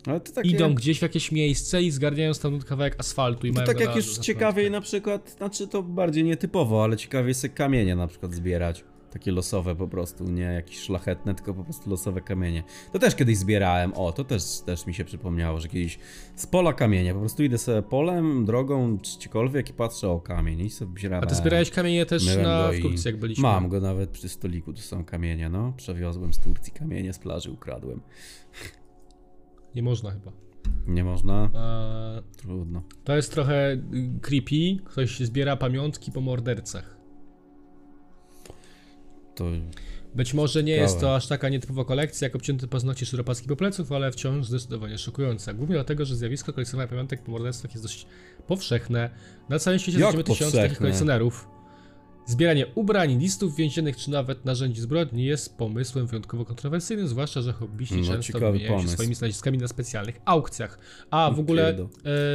Speaker 2: Ale to takie...
Speaker 1: Idą gdzieś w jakieś miejsce i zgarniają stamtąd kawałek asfaltu i
Speaker 2: To
Speaker 1: mają
Speaker 2: tak
Speaker 1: go
Speaker 2: jak
Speaker 1: na-
Speaker 2: już
Speaker 1: na
Speaker 2: ciekawiej
Speaker 1: prądkę.
Speaker 2: na przykład, znaczy to bardziej nietypowo, ale ciekawiej sobie kamienie na przykład zbierać. Takie losowe po prostu, nie jakieś szlachetne, tylko po prostu losowe kamienie. To też kiedyś zbierałem, o, to też, też mi się przypomniało, że kiedyś z pola kamienie, po prostu idę sobie polem, drogą, czy gdziekolwiek i patrzę o kamień i sobie zbierałem.
Speaker 1: A ty zbierałeś kamienie też
Speaker 2: myłem
Speaker 1: na
Speaker 2: go
Speaker 1: w
Speaker 2: i-
Speaker 1: Turcji, jak byliśmy.
Speaker 2: Mam go nawet przy stoliku, to są kamienie, no. Przewiozłem z Turcji kamienie, z plaży ukradłem.
Speaker 1: Nie można chyba.
Speaker 2: Nie można,
Speaker 1: Eee,
Speaker 2: trudno.
Speaker 1: to jest trochę y, creepy. Ktoś zbiera pamiątki po mordercach.
Speaker 2: To
Speaker 1: Być może nie
Speaker 2: Ciekawe.
Speaker 1: jest to aż taka nietypowa kolekcja, jak obcięte paznokcie szurapacki po pleców, ale wciąż zdecydowanie szokująca. Głównie dlatego, że zjawisko kolekcjonowania pamiątek po morderstwach jest dość powszechne. Na całym świecie
Speaker 2: Jak
Speaker 1: znajdziemy tysiące takich
Speaker 2: powszechne?
Speaker 1: kolekcjonerów. Zbieranie ubrań, listów więziennych czy nawet narzędzi zbrodni jest pomysłem wyjątkowo kontrowersyjnym, zwłaszcza, że hobbyści
Speaker 2: No,
Speaker 1: często
Speaker 2: ciekawy
Speaker 1: wymieniają się
Speaker 2: pomysł.
Speaker 1: swoimi znaleziskami na specjalnych aukcjach. A w ogóle
Speaker 2: pierdo.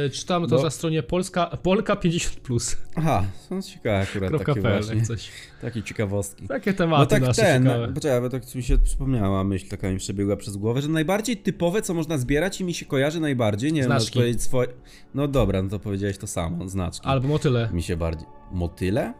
Speaker 1: e, czytam to
Speaker 2: No.
Speaker 1: na stronie Polska, Polka 50 plus.
Speaker 2: Aha, są ciekawe akurat takie właśnie,
Speaker 1: jak coś.
Speaker 2: takie ciekawostki.
Speaker 1: Takie tematy
Speaker 2: No tak
Speaker 1: nasze
Speaker 2: ten,
Speaker 1: ciekawe.
Speaker 2: poczekaj, bo tak mi się przypomniała myśl, taka mi przebiegła przez głowę, że najbardziej typowe, co można zbierać i mi się kojarzy najbardziej, nie
Speaker 1: Znaczki.
Speaker 2: wiem, powiedzieć swoje... No dobra, no to powiedziałeś to samo, znaczki.
Speaker 1: Albo motyle.
Speaker 2: Mi się bardziej... Motyle?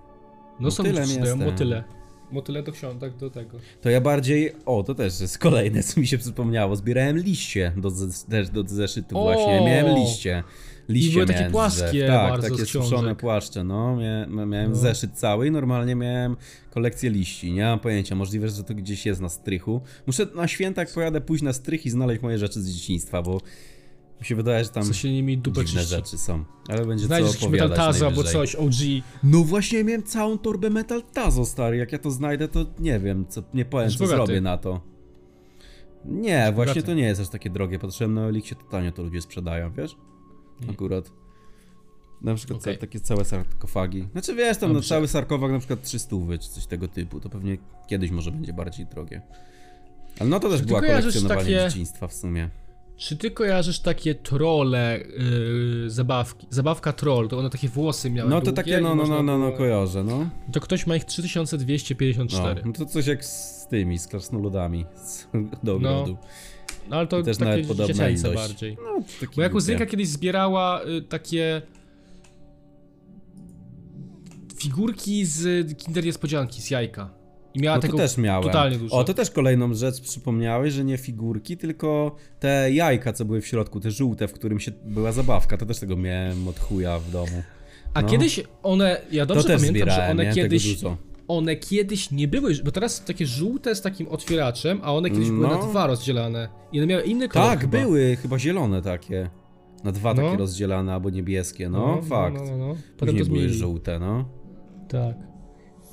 Speaker 1: No są
Speaker 2: Motylem
Speaker 1: liczne,
Speaker 2: jestem.
Speaker 1: motyle. Motyle do książek, do tego.
Speaker 2: To ja bardziej... O, to też jest kolejne, co mi się przypomniało. Zbierałem liście do, zes- też do zeszytu
Speaker 1: O!
Speaker 2: właśnie. Miałem liście. Liście
Speaker 1: I były takie
Speaker 2: miałem z
Speaker 1: płaskie
Speaker 2: drzew. Tak,
Speaker 1: bardzo
Speaker 2: takie
Speaker 1: z książek.
Speaker 2: suszone płaszcze, no. Miałem, miałem
Speaker 1: No.
Speaker 2: zeszyt cały i normalnie miałem kolekcję liści. Nie mam pojęcia, możliwe, że to gdzieś jest na strychu. Muszę na święta, jak pojadę, pójść na strych i znaleźć moje rzeczy z dzieciństwa, bo mi się wydaje, że tam
Speaker 1: Co się nimi dupę
Speaker 2: dziwne
Speaker 1: czyści.
Speaker 2: rzeczy są. Ale będzie
Speaker 1: Znajdziesz
Speaker 2: co
Speaker 1: jakiś
Speaker 2: opowiadać
Speaker 1: metal tazo albo
Speaker 2: najwyżej.
Speaker 1: coś, OG.
Speaker 2: No właśnie, miałem całą torbę Metal Tazo, stary. Jak ja to znajdę, to nie wiem, co, nie powiem,
Speaker 1: Jesteś
Speaker 2: co
Speaker 1: bogaty.
Speaker 2: zrobię na to. Nie, właśnie
Speaker 1: bogaty.
Speaker 2: to nie jest aż takie drogie. Patrzyłem na Eliksie, to tanio to ludzie sprzedają, wiesz? Akurat. Na przykład
Speaker 1: Okej.
Speaker 2: ca- takie całe sarkofagi. Znaczy wiesz, tam no,
Speaker 1: Dobrze.
Speaker 2: cały sarkofag na przykład 300 czy coś tego typu. To pewnie kiedyś może będzie bardziej drogie. Ale no to też
Speaker 1: ty
Speaker 2: była
Speaker 1: kojarzysz
Speaker 2: kolekcjonowanie
Speaker 1: takie-
Speaker 2: dzieciństwa w sumie.
Speaker 1: Czy ty kojarzysz takie trole yy, zabawki? Zabawka troll, to one takie włosy miały
Speaker 2: No to
Speaker 1: długie
Speaker 2: takie, no,
Speaker 1: i
Speaker 2: no,
Speaker 1: można
Speaker 2: no, no, no,
Speaker 1: było-
Speaker 2: kojarzę, no.
Speaker 1: To ktoś ma ich
Speaker 2: No,
Speaker 1: 3254.
Speaker 2: no to coś jak z tymi, z krasnoludami z, do
Speaker 1: No.
Speaker 2: ogrodu.
Speaker 1: No ale to
Speaker 2: Też
Speaker 1: takie
Speaker 2: nawet podobna
Speaker 1: dziecięce
Speaker 2: ilość.
Speaker 1: bardziej.
Speaker 2: No, taki
Speaker 1: Moja
Speaker 2: głupie.
Speaker 1: kuzynka kiedyś zbierała y, takie figurki z Kinder Niespodzianki, z jajka. I miała
Speaker 2: No to
Speaker 1: tego
Speaker 2: też miałem.
Speaker 1: totalnie dużo.
Speaker 2: O, to też kolejną rzecz przypomniałeś, że nie figurki, tylko te jajka, co były w środku, te żółte, w którym się była zabawka, to też tego miałem od chuja w domu.
Speaker 1: A
Speaker 2: no.
Speaker 1: kiedyś one, ja dobrze
Speaker 2: to też
Speaker 1: pamiętam,
Speaker 2: zbierałem,
Speaker 1: że one
Speaker 2: miałem
Speaker 1: kiedyś,
Speaker 2: tego dużo.
Speaker 1: one kiedyś nie były, bo teraz są takie żółte z takim otwieraczem, a one kiedyś były na
Speaker 2: No.
Speaker 1: dwa rozdzielane. I one miały inny kolor
Speaker 2: Tak,
Speaker 1: chyba.
Speaker 2: były, chyba zielone takie. Na dwa
Speaker 1: No.
Speaker 2: takie rozdzielane albo niebieskie, no, fakt.
Speaker 1: No, no, no. Potem
Speaker 2: Później
Speaker 1: to
Speaker 2: były
Speaker 1: zmienili.
Speaker 2: żółte, no.
Speaker 1: Tak.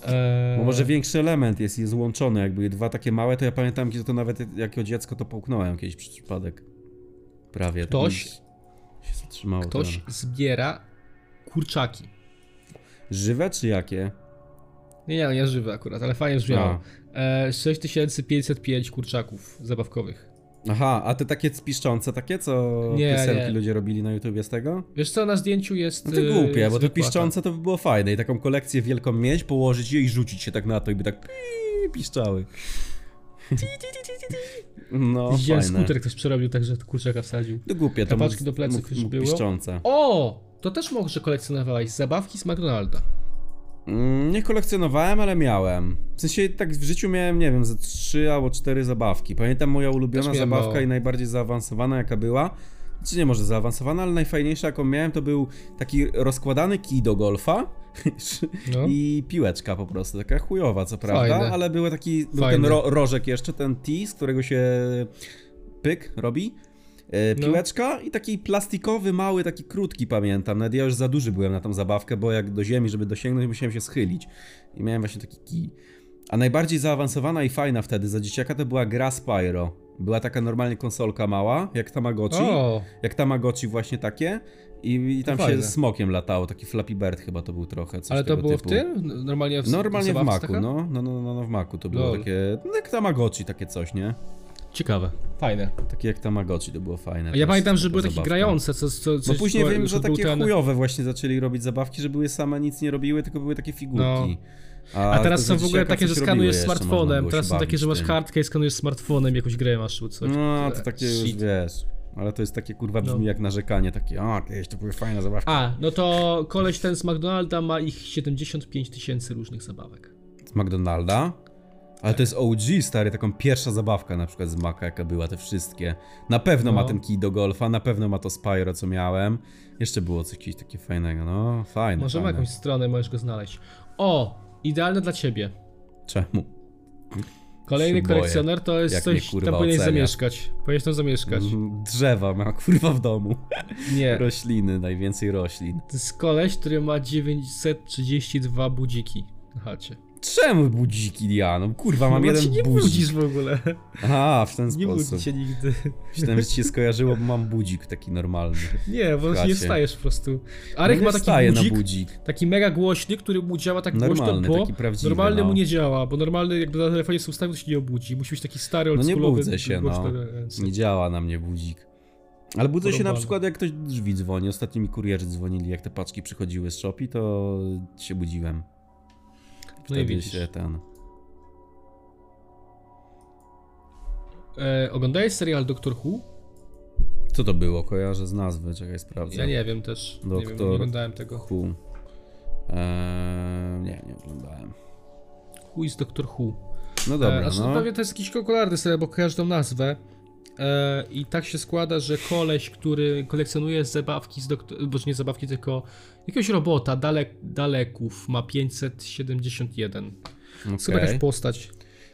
Speaker 1: Eee,
Speaker 2: Bo może większy element jest, jest łączony, jak były dwa takie małe, to ja pamiętam, kiedy to nawet jako dziecko to połknąłem kiedyś przez przypadek. Prawie. tak
Speaker 1: Ktoś-
Speaker 2: mi Się zatrzymało.
Speaker 1: ktoś
Speaker 2: ten.
Speaker 1: zbiera kurczaki.
Speaker 2: Żywe czy jakie?
Speaker 1: Nie, nie, nie żywe akurat, ale fajnie
Speaker 2: A.
Speaker 1: brzmiało. E, 6505 kurczaków zabawkowych.
Speaker 2: Aha, a te takie spiszczące, takie, co
Speaker 1: Nie,
Speaker 2: piosenki
Speaker 1: nie.
Speaker 2: ludzie robili na YouTubie z tego?
Speaker 1: Wiesz co, na zdjęciu jest...
Speaker 2: No to
Speaker 1: e,
Speaker 2: głupie, bo te
Speaker 1: zwykła
Speaker 2: piszczące to by było fajne i taką kolekcję wielką mieć, położyć je i rzucić się tak na to i by tak pii- piszczały.
Speaker 1: ta.
Speaker 2: No,
Speaker 1: Widziałem
Speaker 2: fajne.
Speaker 1: skuter ktoś przerobił tak, że kurczaka wsadził.
Speaker 2: No głupie, to
Speaker 1: Kapaczki
Speaker 2: mógł-
Speaker 1: do pleców
Speaker 2: mógł-
Speaker 1: już
Speaker 2: mógł
Speaker 1: było.
Speaker 2: piszczące.
Speaker 1: O! To też może kolekcjonowałeś zabawki z McDonalda.
Speaker 2: Mm, Nie kolekcjonowałem, ale miałem. W sensie tak w życiu miałem, nie wiem, ze trzy albo cztery zabawki. Pamiętam moja ulubiona
Speaker 1: Też miałem no.
Speaker 2: zabawka
Speaker 1: mało.
Speaker 2: i najbardziej zaawansowana jaka była. Czy nie może zaawansowana, ale najfajniejsza jaką miałem to był taki rozkładany kij do golfa
Speaker 1: No.
Speaker 2: i piłeczka po prostu, taka chujowa co prawda,
Speaker 1: Fajne.
Speaker 2: ale był taki, był
Speaker 1: Fajne.
Speaker 2: ten ro rożek jeszcze, ten tee, z którego się pyk robi. E,
Speaker 1: No.
Speaker 2: piłeczka i taki plastikowy, mały, taki krótki pamiętam. Nawet ja już za duży byłem na tą zabawkę, bo jak do ziemi, żeby dosięgnąć, musiałem się schylić. I miałem właśnie taki kij. A najbardziej zaawansowana i fajna wtedy za dzieciaka to była gra Spyro. Była taka normalnie konsolka mała, jak Tamagotchi.
Speaker 1: O!
Speaker 2: Jak Tamagotchi właśnie takie. I, i tam
Speaker 1: To
Speaker 2: się
Speaker 1: fajne.
Speaker 2: smokiem latało, taki Flappy Bird chyba to był trochę, coś
Speaker 1: Ale to
Speaker 2: tego
Speaker 1: było
Speaker 2: typu.
Speaker 1: w tym? Normalnie w
Speaker 2: Normalnie w
Speaker 1: zabawce
Speaker 2: maku,
Speaker 1: taka?
Speaker 2: no. No, no, no, no w maku to było
Speaker 1: Lol.
Speaker 2: takie, no jak Tamagotchi takie coś, nie?
Speaker 1: Ciekawe. Fajne.
Speaker 2: Takie jak Tamagotchi to było fajne.
Speaker 1: A
Speaker 2: też,
Speaker 1: ja pamiętam, że
Speaker 2: taka
Speaker 1: były takie
Speaker 2: zabawka.
Speaker 1: grające, co... co
Speaker 2: No
Speaker 1: coś-
Speaker 2: później
Speaker 1: co-
Speaker 2: wiem,
Speaker 1: co
Speaker 2: że
Speaker 1: był
Speaker 2: takie
Speaker 1: ten-
Speaker 2: chujowe właśnie zaczęli robić zabawki, że były same, nic nie robiły, tylko były takie figurki.
Speaker 1: No. A teraz
Speaker 2: za
Speaker 1: są w ogóle
Speaker 2: dzieciaka
Speaker 1: takie, że
Speaker 2: coś robiły
Speaker 1: skanujesz
Speaker 2: jeszcze, można
Speaker 1: smartfonem.
Speaker 2: było
Speaker 1: Teraz
Speaker 2: się
Speaker 1: są takie,
Speaker 2: bawić
Speaker 1: że masz
Speaker 2: tym.
Speaker 1: kartkę i skanujesz smartfonem jakąś grę masz lub coś.
Speaker 2: No, to takie już,
Speaker 1: Shit.
Speaker 2: wiesz. Ale to jest takie kurwa brzmi
Speaker 1: No.
Speaker 2: jak narzekanie, takie, a kiedyś to były fajne zabawki.
Speaker 1: A, no to koleś ten z McDonalda ma ich 75 tysięcy różnych zabawek.
Speaker 2: Z McDonalda. Ale to jest OG, stary, taką pierwsza zabawka na przykład z Maca, jaka była, te wszystkie. Na pewno ma
Speaker 1: No.
Speaker 2: ten kij do golfa, na pewno ma to Spyro, co miałem. Jeszcze było coś jakiegoś takiego fajnego, no, fajne,
Speaker 1: Może ma
Speaker 2: fajne.
Speaker 1: jakąś stronę, możesz go znaleźć. O, idealne dla ciebie.
Speaker 2: Czemu?
Speaker 1: Kolejny
Speaker 2: Się boję,
Speaker 1: kolekcjoner to jest
Speaker 2: jak mnie,
Speaker 1: coś,
Speaker 2: kurwa,
Speaker 1: tam powinieneś
Speaker 2: ocenia.
Speaker 1: zamieszkać. Powinieneś tam zamieszkać.
Speaker 2: Mm, Drzewa ma, kurwa, w domu.
Speaker 1: Nie,
Speaker 2: Rośliny, najwięcej roślin.
Speaker 1: to jest koleś, który ma 932 budziki na chacie.
Speaker 2: Czemu budziki, Dianą? Kurwa, mam
Speaker 1: Bo
Speaker 2: jeden
Speaker 1: ty się No nie
Speaker 2: budzik.
Speaker 1: budzisz w ogóle.
Speaker 2: A, w ten
Speaker 1: Nie
Speaker 2: sposób.
Speaker 1: budzi się nigdy.
Speaker 2: Myślałem, że ci się skojarzyło, bo mam budzik taki normalny.
Speaker 1: Nie, bo
Speaker 2: Chacie.
Speaker 1: nie wstajesz po prostu.
Speaker 2: No
Speaker 1: Arek
Speaker 2: nie
Speaker 1: ma taki
Speaker 2: wstaję
Speaker 1: budzik,
Speaker 2: na budzik.
Speaker 1: taki mega głośny, który mu działa tak
Speaker 2: Normalny,
Speaker 1: głośno,
Speaker 2: taki
Speaker 1: bo
Speaker 2: prawdziwy,
Speaker 1: normalny
Speaker 2: no.
Speaker 1: mu nie działa, bo normalny jakby na telefonie sobie ustawił, to się nie obudzi. Musi być taki stary,
Speaker 2: No nie
Speaker 1: oldschoolowy. e,
Speaker 2: budzę się, no.
Speaker 1: głośny ręce.
Speaker 2: Nie działa na mnie budzik. Ale budzę się na
Speaker 1: Porąbane.
Speaker 2: przykład, jak ktoś do drzwi dzwoni. Ostatnio mi kurierzy dzwonili, jak te paczki przychodziły z shopi, to się budziłem.
Speaker 1: No i
Speaker 2: Wtedy
Speaker 1: widzisz.
Speaker 2: się ten...
Speaker 1: E, oglądałeś serial Doctor Who?
Speaker 2: Co to było? Kojarzę z nazwy, czekaj, sprawdzę.
Speaker 1: Ja nie wiem też. Nie, wiem,
Speaker 2: Doktor.
Speaker 1: nie oglądałem tego.
Speaker 2: Who. Eee, nie, nie oglądałem.
Speaker 1: Who is Doctor Who?
Speaker 2: No
Speaker 1: e,
Speaker 2: dobra,
Speaker 1: znaczy, to
Speaker 2: no.
Speaker 1: pewnie to jest jakiś kokularny serial, bo kojarzę tą nazwę. E, I tak się składa, że koleś, który kolekcjonuje zabawki z doktor... Boże, nie zabawki, tylko jakiegoś robota, dalek, daleków, ma 571. Jest chyba
Speaker 2: Okej.
Speaker 1: jakaś postać.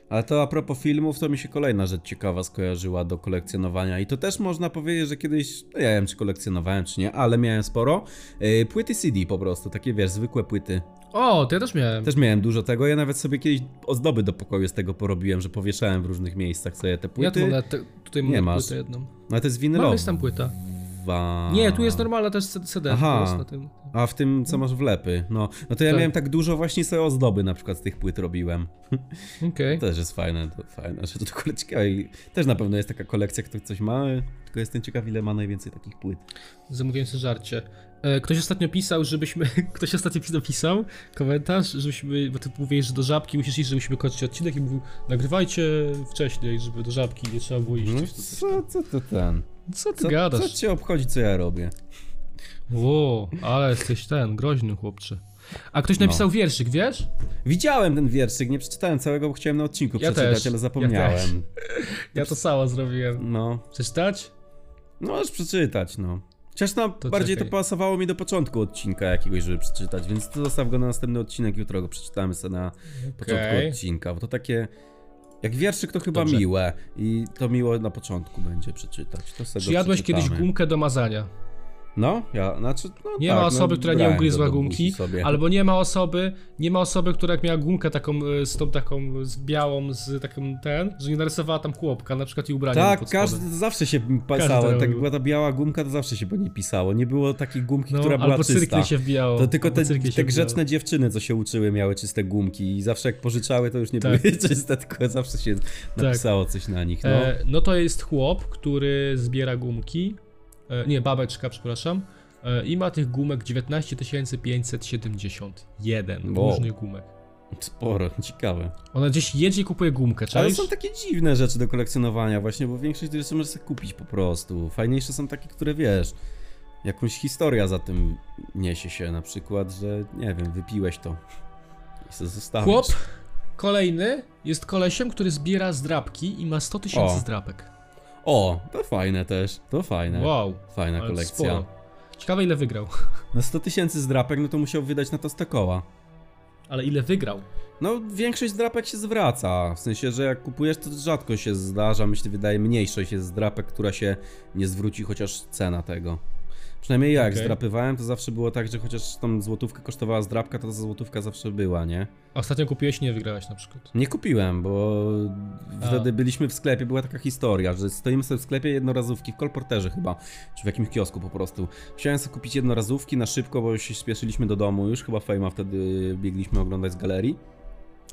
Speaker 2: Ale to a propos filmów, to mi się kolejna rzecz ciekawa skojarzyła do kolekcjonowania i to też można powiedzieć, że kiedyś, no ja nie wiem czy kolekcjonowałem czy nie, ale miałem sporo, yy, płyty CD po prostu, takie wiesz, zwykłe płyty.
Speaker 1: O, to ja też miałem.
Speaker 2: Też miałem dużo tego, ja nawet sobie kiedyś ozdoby do pokoju z tego porobiłem, że powieszałem w różnych miejscach sobie te
Speaker 1: ja tu mam
Speaker 2: płyty.
Speaker 1: nawet te, tutaj
Speaker 2: Nie
Speaker 1: mam
Speaker 2: masz.
Speaker 1: płytę jedną.
Speaker 2: No to jest
Speaker 1: Mam,
Speaker 2: winylowa.
Speaker 1: jest tam płyta. Nie, tu jest normalna też C- CD.
Speaker 2: Aha.
Speaker 1: Aha. Na tym.
Speaker 2: A w tym, co masz wlepy, no. No to ja
Speaker 1: Tak.
Speaker 2: miałem tak dużo właśnie sobie ozdoby na przykład z tych płyt robiłem.
Speaker 1: Okej.
Speaker 2: Też jest fajne, to fajne, że to tylko ciekawe i też na pewno jest taka kolekcja, kto coś ma, tylko jestem ciekaw ile ma najwięcej takich płyt.
Speaker 1: Zamówiłem sobie żarcie. E, Ktoś ostatnio pisał, żebyśmy. Ktoś ostatnio pis- napisał komentarz, żebyśmy. Bo ty mówiłeś, że do żabki musisz iść, żebyśmy kończyć odcinek i mówił, nagrywajcie wcześniej, żeby do żabki nie trzeba było iść.
Speaker 2: No
Speaker 1: No,
Speaker 2: co, co to ten?
Speaker 1: co ty
Speaker 2: Co, co
Speaker 1: gadasz?
Speaker 2: cię obchodzi, co ja robię?
Speaker 1: Ło, ale jesteś ten, groźny chłopcze. A ktoś napisał wierszyk, wiesz?
Speaker 2: Widziałem ten wierszyk, nie przeczytałem całego, bo chciałem na odcinku
Speaker 1: Ja
Speaker 2: przeczytać,
Speaker 1: też,
Speaker 2: ale
Speaker 1: ja
Speaker 2: zapomniałem.
Speaker 1: Ja to sama zrobiłem.
Speaker 2: No,
Speaker 1: Przeczytać?
Speaker 2: no możesz przeczytać, no. Chociaż no,
Speaker 1: To
Speaker 2: bardziej
Speaker 1: czekaj.
Speaker 2: to pasowało mi do początku odcinka jakiegoś, żeby przeczytać, więc to zostaw go na następny odcinek, jutro go przeczytamy sobie na początku
Speaker 1: Okej.
Speaker 2: odcinka, bo to takie... Jak wierszyk to chyba
Speaker 1: Dobrze.
Speaker 2: miłe i to miło na początku będzie przeczytać. To sobie
Speaker 1: Czy
Speaker 2: go
Speaker 1: jadłeś kiedyś
Speaker 2: przeczytamy.
Speaker 1: gumkę do mazania?
Speaker 2: No, ja, znaczy, no
Speaker 1: Nie
Speaker 2: tak,
Speaker 1: ma
Speaker 2: no,
Speaker 1: osoby, która nie
Speaker 2: brałem go
Speaker 1: ugryzła
Speaker 2: do buzi
Speaker 1: gumki,
Speaker 2: sobie.
Speaker 1: albo nie ma osoby, nie ma osoby, która jak miała gumkę taką e, z tą taką z białą, z taką ten, że nie narysowała tam chłopka, na przykład i ubrania
Speaker 2: Tak,
Speaker 1: pod spodem.
Speaker 2: każdy, zawsze się
Speaker 1: Każdy
Speaker 2: pisało,
Speaker 1: robił.
Speaker 2: tak jak była ta biała gumka, to zawsze się po niej pisało, nie było takiej gumki,
Speaker 1: no,
Speaker 2: która była
Speaker 1: albo
Speaker 2: czysta.
Speaker 1: cyrkle się wbijało.
Speaker 2: To tylko
Speaker 1: albo
Speaker 2: te,
Speaker 1: cyrkle się
Speaker 2: te
Speaker 1: wbijało.
Speaker 2: grzeczne dziewczyny, co się uczyły, miały czyste gumki i zawsze jak pożyczały, to już nie
Speaker 1: Tak.
Speaker 2: były czyste, tylko zawsze się napisało coś na nich. No.
Speaker 1: E, no to jest chłop, który zbiera gumki, e, nie, babeczka, przepraszam, e, i ma tych gumek 19 571
Speaker 2: Wow.
Speaker 1: różnych gumek.
Speaker 2: Sporo, ciekawe.
Speaker 1: Ona gdzieś jedzie i kupuje gumkę,
Speaker 2: Ale
Speaker 1: czaisz?
Speaker 2: są takie dziwne rzeczy do kolekcjonowania właśnie, bo większość rzeczy możesz sobie kupić po prostu. Fajniejsze są takie, które wiesz, jakąś historia za tym niesie się, na przykład, że nie wiem, wypiłeś to i sobie zostawisz.
Speaker 1: Chłop kolejny jest kolesiem, który zbiera zdrabki i ma 100
Speaker 2: O.
Speaker 1: tysięcy zdrabek.
Speaker 2: O, to fajne też, to fajne.
Speaker 1: Wow,
Speaker 2: Fajna
Speaker 1: ale
Speaker 2: kolekcja.
Speaker 1: sporo. Ciekawe ile wygrał.
Speaker 2: Na 100 tysięcy zdrapek, no to musiał wydać na to 100 koła.
Speaker 1: Ale ile wygrał?
Speaker 2: No, większość zdrapek się zwraca, w sensie, że jak kupujesz, to rzadko się zdarza, myślę, wydaje mniejszość jest zdrapek, która się nie zwróci, chociaż cena tego. Przynajmniej ja jak
Speaker 1: Okej.
Speaker 2: zdrapywałem, to zawsze było tak, że chociaż tam złotówkę kosztowała zdrapka, to ta złotówka zawsze była, nie?
Speaker 1: Ostatnio kupiłeś i nie wygrałeś na przykład.
Speaker 2: Nie kupiłem, bo
Speaker 1: A.
Speaker 2: wtedy byliśmy w sklepie, była taka historia, że stoimy sobie w sklepie jednorazówki, w kolporterze chyba, czy w jakimś kiosku po prostu. Chciałem sobie kupić jednorazówki na szybko, bo się spieszyliśmy do domu już, chyba Fejma wtedy biegliśmy oglądać z galerii.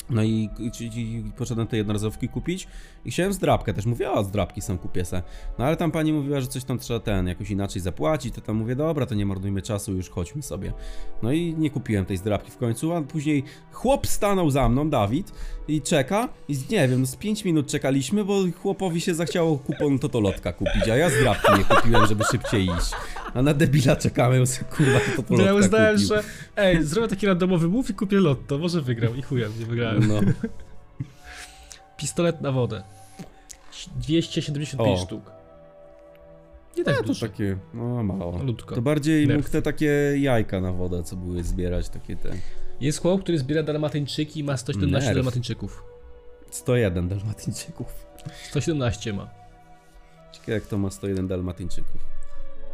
Speaker 2: No i, i, i poszedłem te jednorazówki kupić i chciałem zdrabkę też. Mówię, o zdrabki sam kupię se. No ale tam pani mówiła, że coś tam trzeba ten, jakoś inaczej zapłacić, to tam mówię, dobra, to nie marnujmy czasu, już chodźmy sobie. No i nie kupiłem tej zdrabki w końcu, a później chłop stanął za mną, Dawid, i czeka i z- nie wiem, z 5 minut czekaliśmy, bo chłopowi się zachciało kupon totolotka kupić, a ja zdrabki nie kupiłem, żeby szybciej iść. A na debila czekamy, bo sobie, kurwa to
Speaker 1: To
Speaker 2: totolotka
Speaker 1: ja uznałem,
Speaker 2: kupił.
Speaker 1: że ej, zrobię taki randomowy move i kupię lotto, może wygrał i chujem, nie wygrałem.
Speaker 2: No.
Speaker 1: Pistolet na wodę. 275
Speaker 2: O.
Speaker 1: sztuk. Nie tak
Speaker 2: A to
Speaker 1: dużo.
Speaker 2: takie, no mało.
Speaker 1: Malutko.
Speaker 2: To bardziej
Speaker 1: Nerw.
Speaker 2: mógł te takie jajka na wodę, co były zbierać, takie te.
Speaker 1: Jest chłop, który zbiera dalmatyńczyki i ma 117
Speaker 2: Nerw.
Speaker 1: dalmatyńczyków.
Speaker 2: 101 dalmatyńczyków.
Speaker 1: 117 ma.
Speaker 2: Ciekawe jak to ma 101 dalmatyńczyków.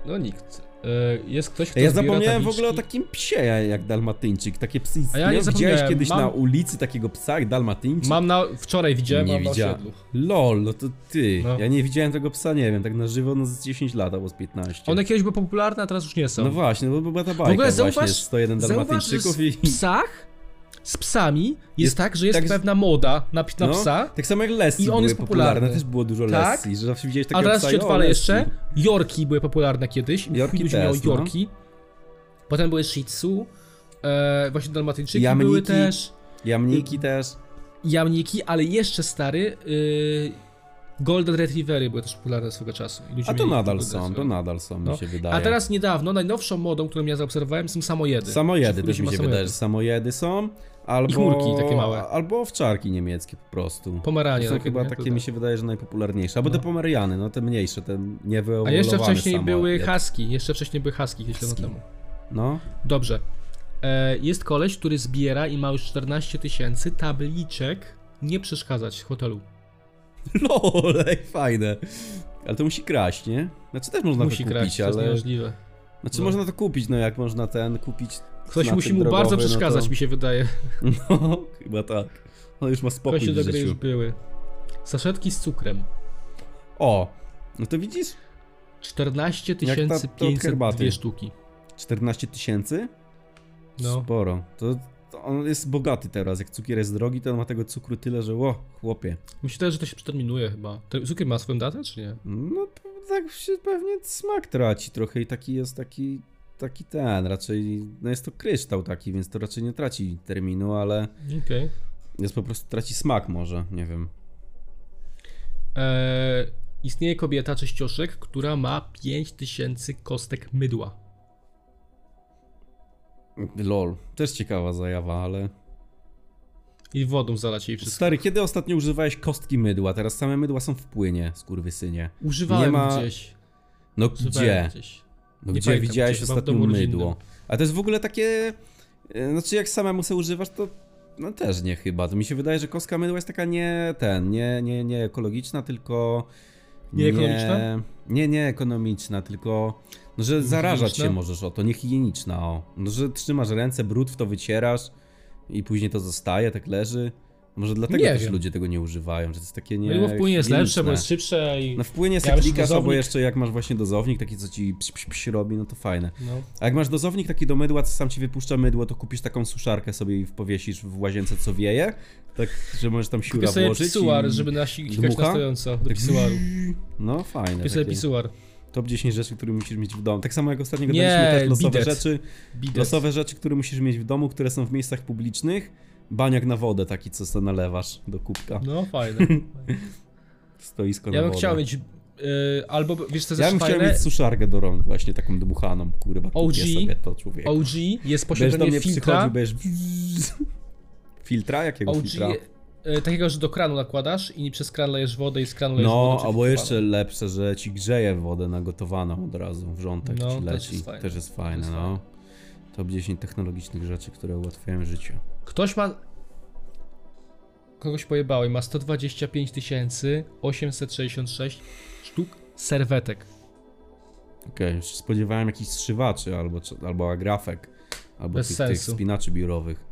Speaker 1: No nikt. E, Jest ktoś, kto
Speaker 2: Ja
Speaker 1: zbiera
Speaker 2: zapomniałem w
Speaker 1: tabliczki.
Speaker 2: ogóle o takim psie ja- jak dalmatyńczyk. Takie psy
Speaker 1: A
Speaker 2: istnieją.
Speaker 1: ja nie
Speaker 2: Widziałeś
Speaker 1: zapomniałem,
Speaker 2: kiedyś
Speaker 1: mam-
Speaker 2: na ulicy takiego psa jak dalmatyńczyk?
Speaker 1: Mam na... Wczoraj widziałem,
Speaker 2: nie
Speaker 1: mam na
Speaker 2: widziałem.
Speaker 1: osiedlu.
Speaker 2: Lol, no to ty.
Speaker 1: No.
Speaker 2: Ja nie widziałem tego psa, nie wiem, tak na żywo no z 10 lat albo z 15.
Speaker 1: One kiedyś były popularne, a teraz już nie są.
Speaker 2: No właśnie, bo była ta bajka
Speaker 1: w ogóle
Speaker 2: właśnie
Speaker 1: zauważ,
Speaker 2: z 101
Speaker 1: zauważ że
Speaker 2: dalmatyńczyków
Speaker 1: z
Speaker 2: i...
Speaker 1: psach, z psami jest,
Speaker 2: Jest
Speaker 1: tak, że jest
Speaker 2: tak, że-
Speaker 1: pewna moda na, pi- na
Speaker 2: No,
Speaker 1: psa,
Speaker 2: Tak samo jak Lessie
Speaker 1: I on
Speaker 2: były
Speaker 1: jest popularny.
Speaker 2: popularne, też było dużo
Speaker 1: Tak.
Speaker 2: Lessie, że zawsze widziałeś takiego
Speaker 1: a teraz
Speaker 2: psa
Speaker 1: się
Speaker 2: i, o,
Speaker 1: odwala jeszcze.
Speaker 2: Lessie.
Speaker 1: Jorki były popularne kiedyś, i
Speaker 2: Yorki
Speaker 1: chuj ludzi miało
Speaker 2: też, no.
Speaker 1: Jorki. Potem były Shih Tzu, e, właśnie dalmatyńczyki
Speaker 2: Jamniki.
Speaker 1: były też,
Speaker 2: Jamniki też.
Speaker 1: jamniki, ale jeszcze stary, y, Golden Retrievery były też popularne swego czasu. i ludzie
Speaker 2: A to
Speaker 1: mieli
Speaker 2: nadal
Speaker 1: Golden
Speaker 2: są, to
Speaker 1: Retrievery.
Speaker 2: nadal są, mi
Speaker 1: No.
Speaker 2: się wydaje.
Speaker 1: A teraz niedawno, najnowszą modą, którą ja zaobserwowałem, są samojedy.
Speaker 2: Samojedy
Speaker 1: Że
Speaker 2: też
Speaker 1: ludzi
Speaker 2: mi
Speaker 1: ma
Speaker 2: się
Speaker 1: samojedy.
Speaker 2: wydaje, że samojedy są. Albo,
Speaker 1: chmurki takie małe.
Speaker 2: Albo owczarki niemieckie po prostu.
Speaker 1: Pomeranie
Speaker 2: To są
Speaker 1: takie,
Speaker 2: chyba
Speaker 1: tak nie?
Speaker 2: takie,
Speaker 1: Tutaj.
Speaker 2: mi się wydaje, że najpopularniejsze. Albo
Speaker 1: No.
Speaker 2: te pomeriany, no te mniejsze, te niewyewolowane
Speaker 1: A jeszcze wcześniej
Speaker 2: samo.
Speaker 1: były haski, jeszcze wcześniej były haski kiedyś dawno
Speaker 2: Husky.
Speaker 1: temu.
Speaker 2: No,
Speaker 1: Dobrze. E, jest koleś, który zbiera i ma już 14 tysięcy tabliczek nie przeszkadzać w hotelu.
Speaker 2: lol, ej, fajne. Ale to musi kraść, nie? Znaczy też można
Speaker 1: Musi
Speaker 2: to kupić,
Speaker 1: kraść, to jest
Speaker 2: ale...
Speaker 1: niemożliwe.
Speaker 2: Znaczy
Speaker 1: No.
Speaker 2: można to kupić, no jak można ten kupić.
Speaker 1: Ktoś
Speaker 2: na
Speaker 1: musi
Speaker 2: tym
Speaker 1: mu bardzo
Speaker 2: drogowy,
Speaker 1: przeszkadzać,
Speaker 2: No,
Speaker 1: mi się wydaje.
Speaker 2: to... no chyba tak. On już ma spokój
Speaker 1: Kości do
Speaker 2: w
Speaker 1: gry już
Speaker 2: życiu.
Speaker 1: były. Saszetki z cukrem.
Speaker 2: O, no to widzisz?
Speaker 1: 14
Speaker 2: Jak ta- ta od
Speaker 1: 500
Speaker 2: herbaty.
Speaker 1: dwie sztuki.
Speaker 2: 14 tysięcy?
Speaker 1: No.
Speaker 2: Sporo. To, to on jest bogaty teraz. Jak cukier jest drogi, to on ma tego cukru tyle, że ło, chłopie.
Speaker 1: Myślę, że to się przeterminuje chyba. Te- Cukier ma swoją datę, czy nie?
Speaker 2: No p- tak się pewnie smak traci trochę i taki jest taki, taki ten. Raczej, no jest to kryształ taki, więc to raczej nie traci terminu, ale
Speaker 1: Okej.
Speaker 2: jest po prostu traci smak może, nie wiem.
Speaker 1: E, istnieje kobieta czyścioszek, która ma 5000 kostek mydła.
Speaker 2: Lol. Też ciekawa zajawa, ale...
Speaker 1: I wodą zalać jej wszystko.
Speaker 2: Stary, kiedy ostatnio używałeś kostki mydła? Teraz same mydła są w płynie, skurwysynie.
Speaker 1: Używałem
Speaker 2: Nie ma-
Speaker 1: gdzieś.
Speaker 2: No
Speaker 1: Używałem
Speaker 2: gdzie?
Speaker 1: gdzieś.
Speaker 2: No
Speaker 1: Nie
Speaker 2: gdzie
Speaker 1: pamiętam,
Speaker 2: widziałeś
Speaker 1: gdzieś chyba w
Speaker 2: ostatnio
Speaker 1: domu rodzinnym.
Speaker 2: mydło? A to jest w ogóle takie... e, Znaczy jak samemu se używasz, to no też nie chyba. To mi się wydaje, że kostka mydła jest taka nie ten, nie, nie, nie ekologiczna, tylko...
Speaker 1: Nie ekonomiczna?
Speaker 2: Nie, nie ekonomiczna, tylko... No, że zarażać się
Speaker 1: Higieniczna?
Speaker 2: możesz o to, niehigieniczna o. No, że trzymasz ręce, brud w to wycierasz i później to zostaje, tak leży. Może dlatego
Speaker 1: Nie
Speaker 2: też
Speaker 1: wiem. No
Speaker 2: ludzie tego nie używają, że to jest takie nie...
Speaker 1: Mydło w płynie jest lepsze, bo
Speaker 2: higieniczne.
Speaker 1: jest szybsze i...
Speaker 2: No wpłynie
Speaker 1: Ja
Speaker 2: sobie
Speaker 1: już
Speaker 2: klikasz, albo
Speaker 1: dozownik-
Speaker 2: jeszcze jak masz właśnie dozownik, taki co ci psz, psz, psz robi, no to fajne.
Speaker 1: No.
Speaker 2: A jak masz dozownik taki do mydła, co sam ci wypuszcza mydło, to kupisz taką suszarkę sobie i powiesisz w łazience co wieje, tak, że możesz tam siura
Speaker 1: Kupię sobie
Speaker 2: włożyć
Speaker 1: pisuar,
Speaker 2: i...
Speaker 1: żeby nasikać
Speaker 2: dmucha?
Speaker 1: na stojąco do pisuaru.
Speaker 2: No fajne,
Speaker 1: Kupię sobie
Speaker 2: takie
Speaker 1: pisuar.
Speaker 2: top 10 rzeczy, które musisz mieć w domu. Tak samo jak ostatnio
Speaker 1: Nie,
Speaker 2: gadaliśmy też losowe
Speaker 1: bidet.
Speaker 2: rzeczy,
Speaker 1: Bidet.
Speaker 2: losowe rzeczy, które musisz mieć w domu, które są w miejscach publicznych, baniak na wodę taki, co sobie nalewasz do kubka,
Speaker 1: No fajne.
Speaker 2: stoisko na
Speaker 1: Ja bym
Speaker 2: wodę.
Speaker 1: chciał mieć... y, albo wiesz co
Speaker 2: Ja
Speaker 1: jest
Speaker 2: bym chciał
Speaker 1: fajne?
Speaker 2: mieć suszarkę do rąk właśnie, taką dmuchaną, kurwa,
Speaker 1: OG?
Speaker 2: kupię sobie to, człowiek.
Speaker 1: OG jest
Speaker 2: Będziesz do
Speaker 1: posiadanie
Speaker 2: mnie przychodził,
Speaker 1: filtra.
Speaker 2: będziesz... Filtra? Jakiego
Speaker 1: OG
Speaker 2: filtra?
Speaker 1: y, takiego, że do kranu nakładasz i przez kran lejesz wodę i z kranu lejesz wodę.
Speaker 2: No,
Speaker 1: czyli
Speaker 2: albo
Speaker 1: filtrowaną.
Speaker 2: jeszcze lepsze, że ci grzeje wodę nagotowaną od razu, wrzątek
Speaker 1: No,
Speaker 2: ci
Speaker 1: też
Speaker 2: leci.
Speaker 1: jest fajne.
Speaker 2: Też jest fajne,
Speaker 1: Też jest
Speaker 2: no. Top 10 technologicznych rzeczy, które ułatwiają życie.
Speaker 1: Ktoś ma... Kogoś pojebałem, ma 125 866 sztuk serwetek.
Speaker 2: Okej, już się spodziewałem jakichś strzywaczy albo, czy- albo agrafek, albo
Speaker 1: Bez
Speaker 2: tych, tych
Speaker 1: sensu.
Speaker 2: spinaczy biurowych.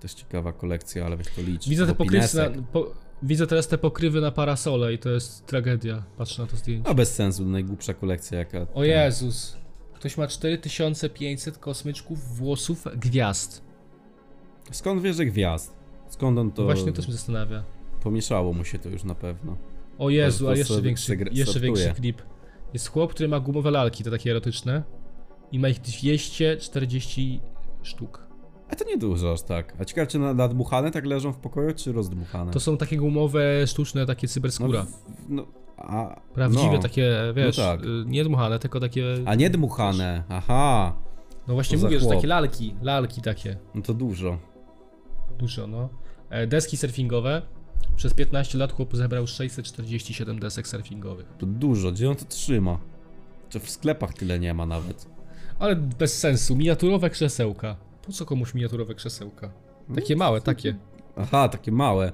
Speaker 2: Też ciekawa kolekcja, ale wiesz, to liczy.
Speaker 1: Widzę te
Speaker 2: Albo
Speaker 1: pokrywy na,
Speaker 2: pinesek.
Speaker 1: po, Widzę teraz te pokrywy na parasole i to jest tragedia. Patrzę na to zdjęcie.
Speaker 2: A No, bez sensu, najgłupsza kolekcja jaka.
Speaker 1: O Jezus. Ktoś ma 4500 kosmyczków włosów gwiazd.
Speaker 2: Skąd wiesz, że gwiazd? Skąd on to.
Speaker 1: Właśnie też mnie zastanawia.
Speaker 2: Pomieszało mu się to już na pewno.
Speaker 1: O Jezu,
Speaker 2: to
Speaker 1: a jeszcze
Speaker 2: sobie
Speaker 1: większy,
Speaker 2: segre-
Speaker 1: jeszcze większy
Speaker 2: sortuję.
Speaker 1: klip. Jest chłop, który ma gumowe lalki, te takie erotyczne. I ma ich 240 sztuk.
Speaker 2: A to niedużo aż tak. A ciekawe, czy na- nadmuchane tak leżą w pokoju, czy rozdmuchane?
Speaker 1: To są takie gumowe, sztuczne, takie
Speaker 2: no,
Speaker 1: cyberskóra.
Speaker 2: w- no, a,
Speaker 1: Prawdziwe
Speaker 2: no.
Speaker 1: takie, wiesz,
Speaker 2: tak.
Speaker 1: y, nie dmuchane, tylko takie...
Speaker 2: A nie dmuchane, aha.
Speaker 1: No właśnie
Speaker 2: to za
Speaker 1: mówię, że
Speaker 2: chłop.
Speaker 1: takie lalki, lalki takie.
Speaker 2: No to dużo.
Speaker 1: Dużo, no. E, Deski surfingowe. Przez 15 lat chłop zebrał 647 desek surfingowych.
Speaker 2: To dużo. Gdzie on to trzyma? Czy w sklepach tyle nie ma nawet?
Speaker 1: Ale
Speaker 2: No
Speaker 1: bez sensu, miniaturowe krzesełka. Po co komuś miniaturowe krzesełka? Takie małe, takie.
Speaker 2: Aha, takie małe.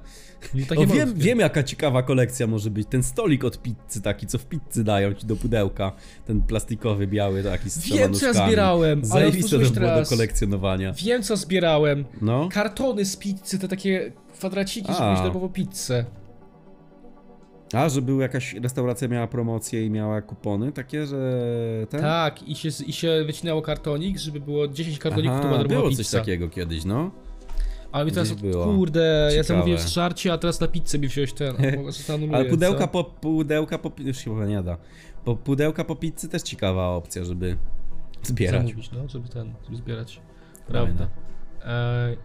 Speaker 1: No, takie
Speaker 2: O, wiem,
Speaker 1: malutkie.
Speaker 2: wiem, jaka ciekawa kolekcja może być. Ten stolik od pizzy taki, co w pizzy dają ci do pudełka. Ten plastikowy, biały taki z trzema
Speaker 1: Wiem, co ja
Speaker 2: nóżkami.
Speaker 1: zbierałem, ale
Speaker 2: Zajebiste
Speaker 1: otworzyłeś
Speaker 2: to było do
Speaker 1: teraz.
Speaker 2: kolekcjonowania.
Speaker 1: Wiem, co zbierałem.
Speaker 2: No,
Speaker 1: Kartony z pizzy, te takie kwadraciki, żeby
Speaker 2: A.
Speaker 1: mieć darmową pizzę.
Speaker 2: a że była jakaś restauracja, miała promocję i miała kupony takie, że ten?
Speaker 1: Tak, i się, i się wycinało kartonik, żeby było 10 kartoników, to była
Speaker 2: Aha,
Speaker 1: darmowa
Speaker 2: było
Speaker 1: pizza.
Speaker 2: coś takiego kiedyś, no.
Speaker 1: Ale mi teraz,
Speaker 2: Gdzieś było.
Speaker 1: kurde, ja
Speaker 2: Ciekawe.
Speaker 1: zamówiłem z żarcie, a teraz na pizzę mi wziąłeś ten. Mogę sobie to anuluję,
Speaker 2: Ale pudełka
Speaker 1: co?
Speaker 2: po, pudełka po, już się chyba nie da. Po, pudełka po pizzy też ciekawa opcja, żeby zbierać.
Speaker 1: Zamówić, no, żeby ten, żeby zbierać. Prawda. E,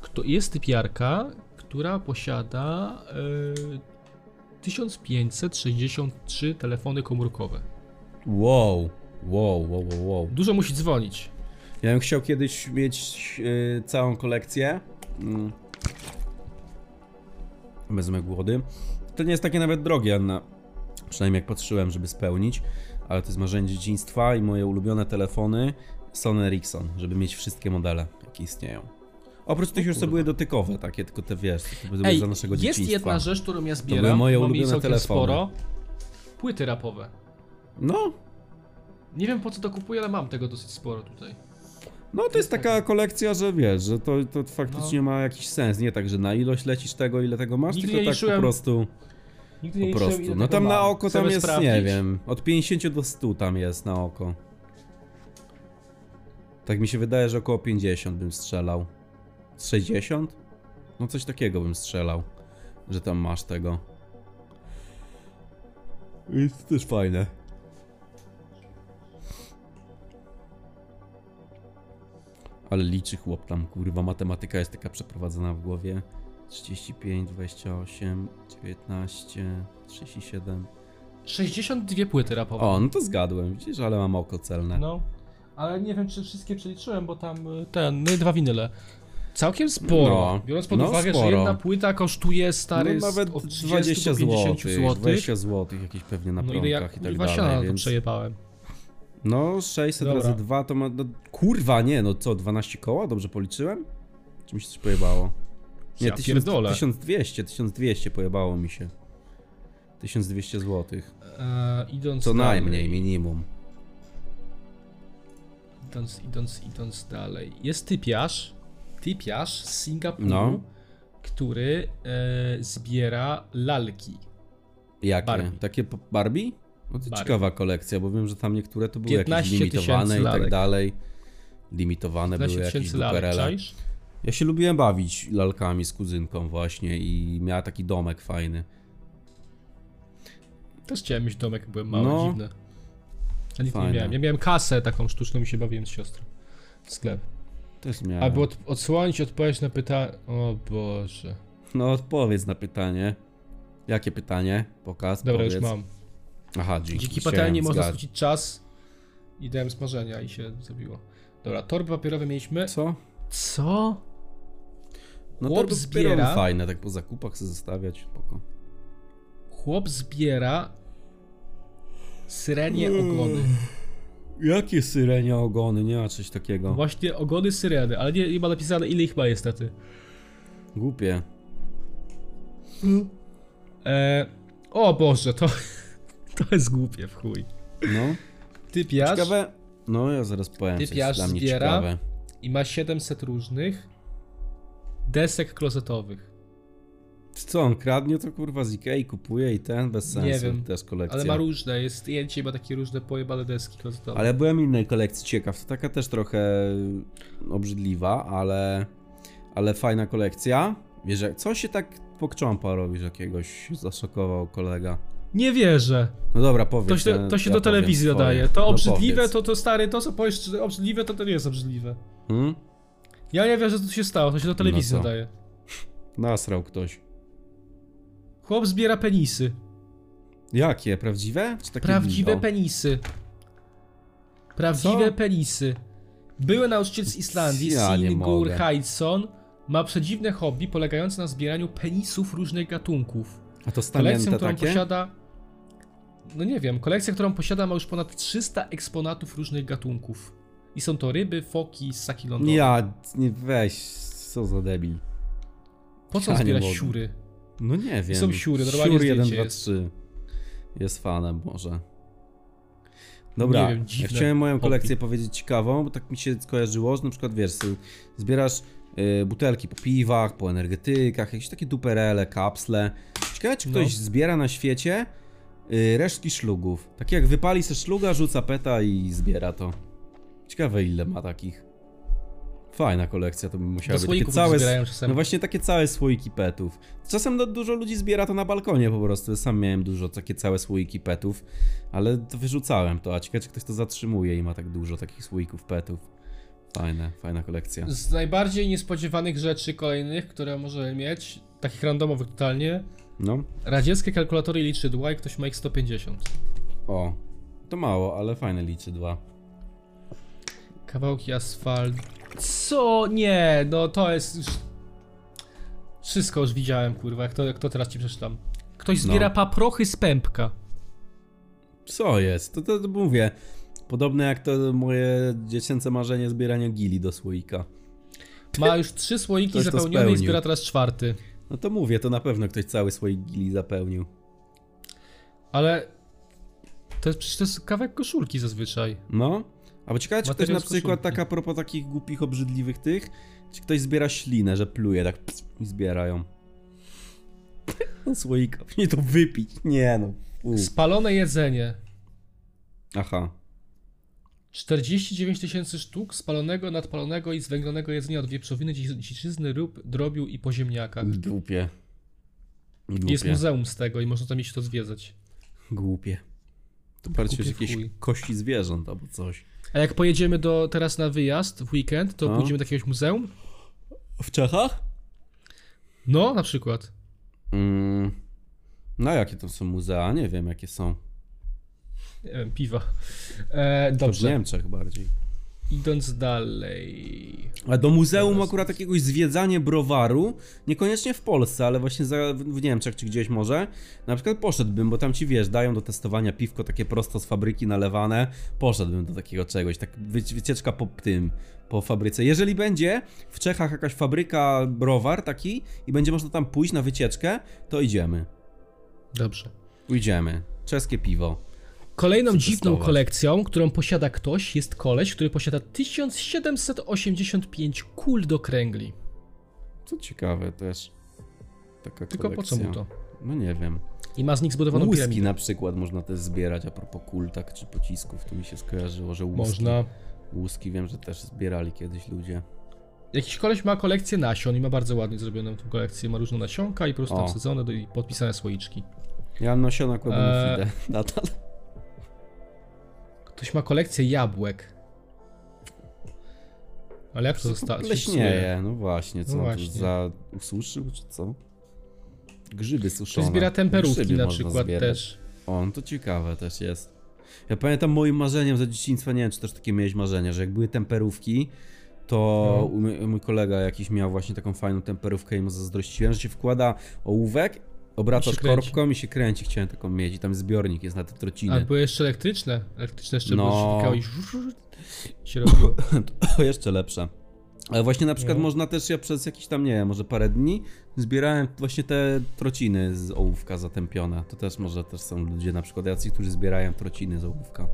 Speaker 1: kto, jest typiarka, która posiada e, 1563 telefony komórkowe.
Speaker 2: Wow, wow, wow, wow, wow.
Speaker 1: Dużo musi dzwonić.
Speaker 2: Ja bym chciał kiedyś mieć y, całą kolekcję. Mm. Wezmę głody. To nie jest takie nawet drogie, Anna. Przynajmniej jak patrzyłem, żeby spełnić. Ale to jest marzenie dzieciństwa i moje ulubione telefony Sony Ericsson, żeby mieć wszystkie modele, jakie istnieją. Oprócz tych już co były dotykowe, takie, tylko te wiesz, to były
Speaker 1: Ej,
Speaker 2: za naszego
Speaker 1: jest
Speaker 2: dzieciństwa.
Speaker 1: jedna rzecz, którą ja zbieram.
Speaker 2: były moje
Speaker 1: mam jej
Speaker 2: ulubione
Speaker 1: całkiem
Speaker 2: telefony.
Speaker 1: Sporo. Płyty rapowe.
Speaker 2: No,
Speaker 1: Nie wiem po co to kupuję, ale mam tego dosyć sporo tutaj.
Speaker 2: No to jest taka kolekcja, że wiesz, że to, to faktycznie ma jakiś sens. Nie tak, że na ilość lecisz tego, ile tego masz,
Speaker 1: No. Nigdy nie
Speaker 2: tylko tak
Speaker 1: liczyłem.
Speaker 2: po prostu.
Speaker 1: Nigdy
Speaker 2: Po
Speaker 1: nie liczyłem, ile
Speaker 2: prostu. No
Speaker 1: tego
Speaker 2: tam na
Speaker 1: mam.
Speaker 2: oko
Speaker 1: Chcemy
Speaker 2: tam jest,
Speaker 1: sprawdzić?
Speaker 2: nie wiem, od 50 do 100 tam jest na oko. Tak mi się wydaje, że około 50 bym strzelał. Z 60? No coś takiego bym strzelał, że tam masz tego. I to też fajne. Ale liczy chłop tam, kurwa, matematyka jest taka przeprowadzona w głowie. 35, 28, 19, 37.
Speaker 1: 62 płyty rapowe.
Speaker 2: O, no to zgadłem, widzisz, ale mam oko celne.
Speaker 1: No. Ale nie wiem, czy wszystkie przeliczyłem, bo tam y, ten, no i dwa winyle. Całkiem sporo.
Speaker 2: No.
Speaker 1: Biorąc pod
Speaker 2: No,
Speaker 1: uwagę, że
Speaker 2: sporo.
Speaker 1: jedna płyta kosztuje stary
Speaker 2: no, nawet
Speaker 1: z- od 30
Speaker 2: 20
Speaker 1: do 50
Speaker 2: złotych,
Speaker 1: zł.
Speaker 2: 20 złotych jakieś pewnie na
Speaker 1: No ile ja
Speaker 2: prąkach i tak
Speaker 1: kurwa siana
Speaker 2: dalej,
Speaker 1: to
Speaker 2: więc...
Speaker 1: przejebałem.
Speaker 2: No 600
Speaker 1: Dobra.
Speaker 2: razy 2 to ma... No, kurwa, nie, no co, 12 koła? Dobrze policzyłem? Czy mi się coś pojebało? Nie,
Speaker 1: Ja
Speaker 2: 1000,
Speaker 1: pierdolę.
Speaker 2: 1200, 1200 pojebało mi się. 1200 złotych.
Speaker 1: E, idąc
Speaker 2: Co
Speaker 1: dalej,
Speaker 2: najmniej, minimum.
Speaker 1: Idąc, idąc, idąc dalej. Jest typiarz, typiarz z Singapuru,
Speaker 2: No.
Speaker 1: który e, zbiera lalki.
Speaker 2: Jakie?
Speaker 1: Barbie.
Speaker 2: Takie po- Barbie? No to
Speaker 1: Barbie.
Speaker 2: ciekawa kolekcja, bo wiem, że tam niektóre to były
Speaker 1: 15
Speaker 2: jakieś
Speaker 1: tysięcy
Speaker 2: limitowane i
Speaker 1: lalek.
Speaker 2: tak dalej. Limitowane były
Speaker 1: 15
Speaker 2: jakieś
Speaker 1: Znaczy tysięcy lalek,
Speaker 2: duperele.
Speaker 1: czaisz?
Speaker 2: Ja się lubiłem bawić lalkami z kuzynką właśnie i miała taki domek fajny.
Speaker 1: Też chciałem mieć domek, jak byłem mały,
Speaker 2: No.
Speaker 1: dziwny. A nic nie
Speaker 2: Fajne.
Speaker 1: miałem. Ja miałem kasę taką sztuczną i się bawiłem z siostrą. W sklep.
Speaker 2: Też miałem.
Speaker 1: Aby od, odsłonić odpowiedź na pytanie... O Boże.
Speaker 2: No odpowiedz na pytanie. Jakie pytanie? Pokaz,
Speaker 1: Dobra,
Speaker 2: powiedz.
Speaker 1: już mam.
Speaker 2: Aha, dzięki.
Speaker 1: Dzięki
Speaker 2: Chciałem
Speaker 1: patelni można
Speaker 2: zgad-
Speaker 1: skrócić czas. I dałem smażenia i się zrobiło. Dobra, torby papierowe mieliśmy.
Speaker 2: Co?
Speaker 1: Co?
Speaker 2: No
Speaker 1: Chłop
Speaker 2: to
Speaker 1: zbiera.
Speaker 2: zbiera. fajne, tak po zakupach se zostawiać, spoko.
Speaker 1: Chłop zbiera syrenie ogony.
Speaker 2: Jakie syrenia ogony, nie ma coś takiego.
Speaker 1: Właśnie ogony syreny, ale nie, nie ma napisane ile ich ma niestety.
Speaker 2: Głupie.
Speaker 1: E, o Boże, to, to jest głupie w chuj.
Speaker 2: No.
Speaker 1: Typiarz
Speaker 2: Ciekawe. No ja zaraz powiem,
Speaker 1: Typ
Speaker 2: co
Speaker 1: jaż
Speaker 2: jest dla mnie
Speaker 1: zbiera.
Speaker 2: ciekawe.
Speaker 1: i ma 700 różnych desek klozetowych.
Speaker 2: Co on kradnie to kurwa z Ikei kupuje i ten bez sensu.
Speaker 1: Nie wiem,
Speaker 2: Też kolekcja.
Speaker 1: Ale ma różne, jest zdjęcie i ma takie różne pojebane deski klozetowe.
Speaker 2: Ale byłem innej kolekcji ciekaw, to taka też trochę obrzydliwa, ale, ale fajna kolekcja. Wiesz, jak- co się tak pokcząpa robisz jakiegoś, zaszokował kolega.
Speaker 1: Nie wierzę.
Speaker 2: No dobra, powiedz.
Speaker 1: To się,
Speaker 2: ja-
Speaker 1: to się
Speaker 2: ja
Speaker 1: do
Speaker 2: powiem
Speaker 1: telewizji
Speaker 2: swoje.
Speaker 1: nadaje. To
Speaker 2: No
Speaker 1: obrzydliwe,
Speaker 2: powiedz.
Speaker 1: to, to stary, to co powiesz, że obrzydliwe, to to nie jest obrzydliwe.
Speaker 2: Hmm?
Speaker 1: Ja nie wierzę, co tu się stało, to się do telewizji
Speaker 2: No co?
Speaker 1: nadaje.
Speaker 2: Nasrał ktoś.
Speaker 1: Chłop zbiera penisy.
Speaker 2: Jakie? Prawdziwe? Czy takie
Speaker 1: Prawdziwe
Speaker 2: dildo?
Speaker 1: penisy. Prawdziwe
Speaker 2: Co?
Speaker 1: penisy. Były nauczyciel z Islandii,
Speaker 2: Ja nie
Speaker 1: Singur
Speaker 2: mogę.
Speaker 1: Heidson, ma przedziwne hobby polegające na zbieraniu penisów różnych gatunków.
Speaker 2: A to
Speaker 1: Kolekcję,
Speaker 2: stamięte
Speaker 1: którą
Speaker 2: takie?
Speaker 1: posiada. No nie wiem, kolekcja, którą posiada, ma już ponad 300 eksponatów różnych gatunków. I są to ryby, foki, ssaki lądowe.
Speaker 2: Ja, nie, weź, co za debil.
Speaker 1: Po co
Speaker 2: Ja nie
Speaker 1: zbierać
Speaker 2: mogę.
Speaker 1: siury?
Speaker 2: No nie wiem.
Speaker 1: Są siury, normalnie
Speaker 2: Siur 1,
Speaker 1: zdjęcie
Speaker 2: 2,
Speaker 1: jest.
Speaker 2: 3. Jest fanem może. Dobra,
Speaker 1: Nie wiem, dziwne
Speaker 2: ja chciałem moją
Speaker 1: hobby.
Speaker 2: kolekcję powiedzieć ciekawą, bo tak mi się skojarzyło, że na przykład wiesz, sobie zbierasz y, butelki po piwach, po energetykach, jakieś takie duperele, kapsle. Ciekawe,
Speaker 1: No.
Speaker 2: czy ktoś zbiera na świecie y, resztki szlugów. Tak jak wypali se szluga, rzuca peta i zbiera to. Ciekawe ile ma takich. Fajna kolekcja, to by musiała
Speaker 1: Do
Speaker 2: być. Takie
Speaker 1: słoików
Speaker 2: całe,
Speaker 1: zbierają czasem.
Speaker 2: no właśnie takie całe słoiki petów. Czasem no, dużo ludzi zbiera to na balkonie po prostu. Sam miałem dużo takie całe słoiki petów, ale to wyrzucałem to. A ciekawe, czy ktoś to zatrzymuje i ma tak dużo takich słoików petów. Fajne, fajna kolekcja.
Speaker 1: Z najbardziej niespodziewanych rzeczy kolejnych, które możemy mieć, takich randomowych totalnie,
Speaker 2: No,
Speaker 1: radzieckie kalkulatory i liczydła i ktoś ma ich 150.
Speaker 2: o. To mało, ale fajne liczy dwa.
Speaker 1: Kawałki asfalt. Co? Nie, no to jest już... Wszystko już widziałem, kurwa, jak to, jak to teraz ci przeczytam. Ktoś zbiera
Speaker 2: No.
Speaker 1: paprochy z pępka.
Speaker 2: Co jest? To, to, to mówię. Podobne jak to moje dziecięce marzenie zbierania gili do słoika.
Speaker 1: Ma już trzy słoiki
Speaker 2: Ktoś to
Speaker 1: zapełnione i
Speaker 2: spełnił.
Speaker 1: zbiera teraz czwarty.
Speaker 2: No to mówię, to na pewno ktoś cały słoik gili zapełnił.
Speaker 1: Ale... To jest przecież to jest kawałek koszulki zazwyczaj.
Speaker 2: No. A bo ciekawe, czy ktoś
Speaker 1: Materiał
Speaker 2: na
Speaker 1: z
Speaker 2: przykład
Speaker 1: koszulki.
Speaker 2: tak a propos takich głupich, obrzydliwych tych, czy ktoś zbiera ślinę, że pluje tak ps, i zbierają. No słoika. Nie to wypić. Nie no. U.
Speaker 1: Spalone jedzenie.
Speaker 2: Aha.
Speaker 1: 49 tysięcy sztuk spalonego, nadpalonego i zwęglonego jedzenia od wieprzowiny, dzi- dziczyzny, ryb, drobiu i po ziemniakach.
Speaker 2: Głupie. Głupie.
Speaker 1: Jest muzeum z tego i można tam iść to zwiedzać.
Speaker 2: Głupie. To bardziej
Speaker 1: Głupie w
Speaker 2: jakieś
Speaker 1: chuj.
Speaker 2: kości zwierząt albo coś.
Speaker 1: A jak pojedziemy do, teraz na wyjazd w weekend, to
Speaker 2: No.
Speaker 1: pójdziemy do jakiegoś muzeum?
Speaker 2: W Czechach?
Speaker 1: No, na przykład.
Speaker 2: Mm. No jakie to są muzea? Nie wiem jakie są.
Speaker 1: Nie wiem, piwa. E,
Speaker 2: To w
Speaker 1: dobrze.
Speaker 2: Niemczech bardziej.
Speaker 1: Idąc dalej.
Speaker 2: A do muzeum akurat jakiegoś zwiedzanie browaru, niekoniecznie w Polsce, ale właśnie za, w Niemczech czy gdzieś może, na przykład poszedłbym, bo tam ci wiesz, dają do testowania piwko takie prosto z fabryki nalewane, poszedłbym do takiego czegoś, tak wyci- wycieczka po tym, po fabryce. Jeżeli będzie w Czechach jakaś fabryka browar taki i będzie można tam pójść na wycieczkę, to idziemy.
Speaker 1: Dobrze.
Speaker 2: Idziemy. Czeskie piwo.
Speaker 1: Kolejną
Speaker 2: Przetestować.
Speaker 1: dziwną kolekcją, którą posiada ktoś, jest koleś, który posiada 1785 kul do kręgli.
Speaker 2: Co ciekawe też. Taka
Speaker 1: Tylko po co mu
Speaker 2: kolekcja.
Speaker 1: to?
Speaker 2: No nie wiem.
Speaker 1: I ma z nich zbudowaną piramidę.
Speaker 2: Łuski na przykład można też zbierać, a propos kultak czy pocisków, to mi się skojarzyło, że łuski,
Speaker 1: Można.
Speaker 2: łuski wiem, że też zbierali kiedyś ludzie.
Speaker 1: Jakiś koleś ma kolekcję nasion i ma bardzo ładnie zrobioną tą kolekcję. Ma różne nasionka i po prostu
Speaker 2: O.
Speaker 1: tam wsadzone do, i podpisane słoiczki.
Speaker 2: Ja nosiona kładę na
Speaker 1: Eee.
Speaker 2: fidę nadal.
Speaker 1: Ktoś ma kolekcję jabłek. Ale jak to zostało?
Speaker 2: Leśnieje, no właśnie, co
Speaker 1: No
Speaker 2: on tu
Speaker 1: tak właśnie.
Speaker 2: za ususzył czy co? Grzyby
Speaker 1: Ktoś
Speaker 2: suszone.
Speaker 1: zbiera temperówki
Speaker 2: Grzyby
Speaker 1: na
Speaker 2: można
Speaker 1: przykład
Speaker 2: zbierać.
Speaker 1: też.
Speaker 2: O, no to ciekawe też jest. Ja pamiętam moim marzeniem za dzieciństwa, nie wiem czy też takie miałeś marzenia, że jak były temperówki,
Speaker 1: No.
Speaker 2: to mój, mój kolega jakiś miał właśnie taką fajną temperówkę i mu zazdrościłem, że się wkłada ołówek,
Speaker 1: I
Speaker 2: obracasz
Speaker 1: się kręci.
Speaker 2: korbką i się kręci, chciałem taką mieć i tam zbiornik jest na te
Speaker 1: A
Speaker 2: trociny.
Speaker 1: były jeszcze elektryczne. Elektryczne jeszcze
Speaker 2: No.
Speaker 1: no. się tykało i żu- żu- żu- się robiło.
Speaker 2: To jeszcze lepsze. Ale właśnie na przykład
Speaker 1: No.
Speaker 2: można też, ja przez jakieś tam, nie wiem, może parę dni zbierałem właśnie te trociny z ołówka zatępione. To też może też są ludzie na przykład jacy, którzy zbierają trociny z ołówka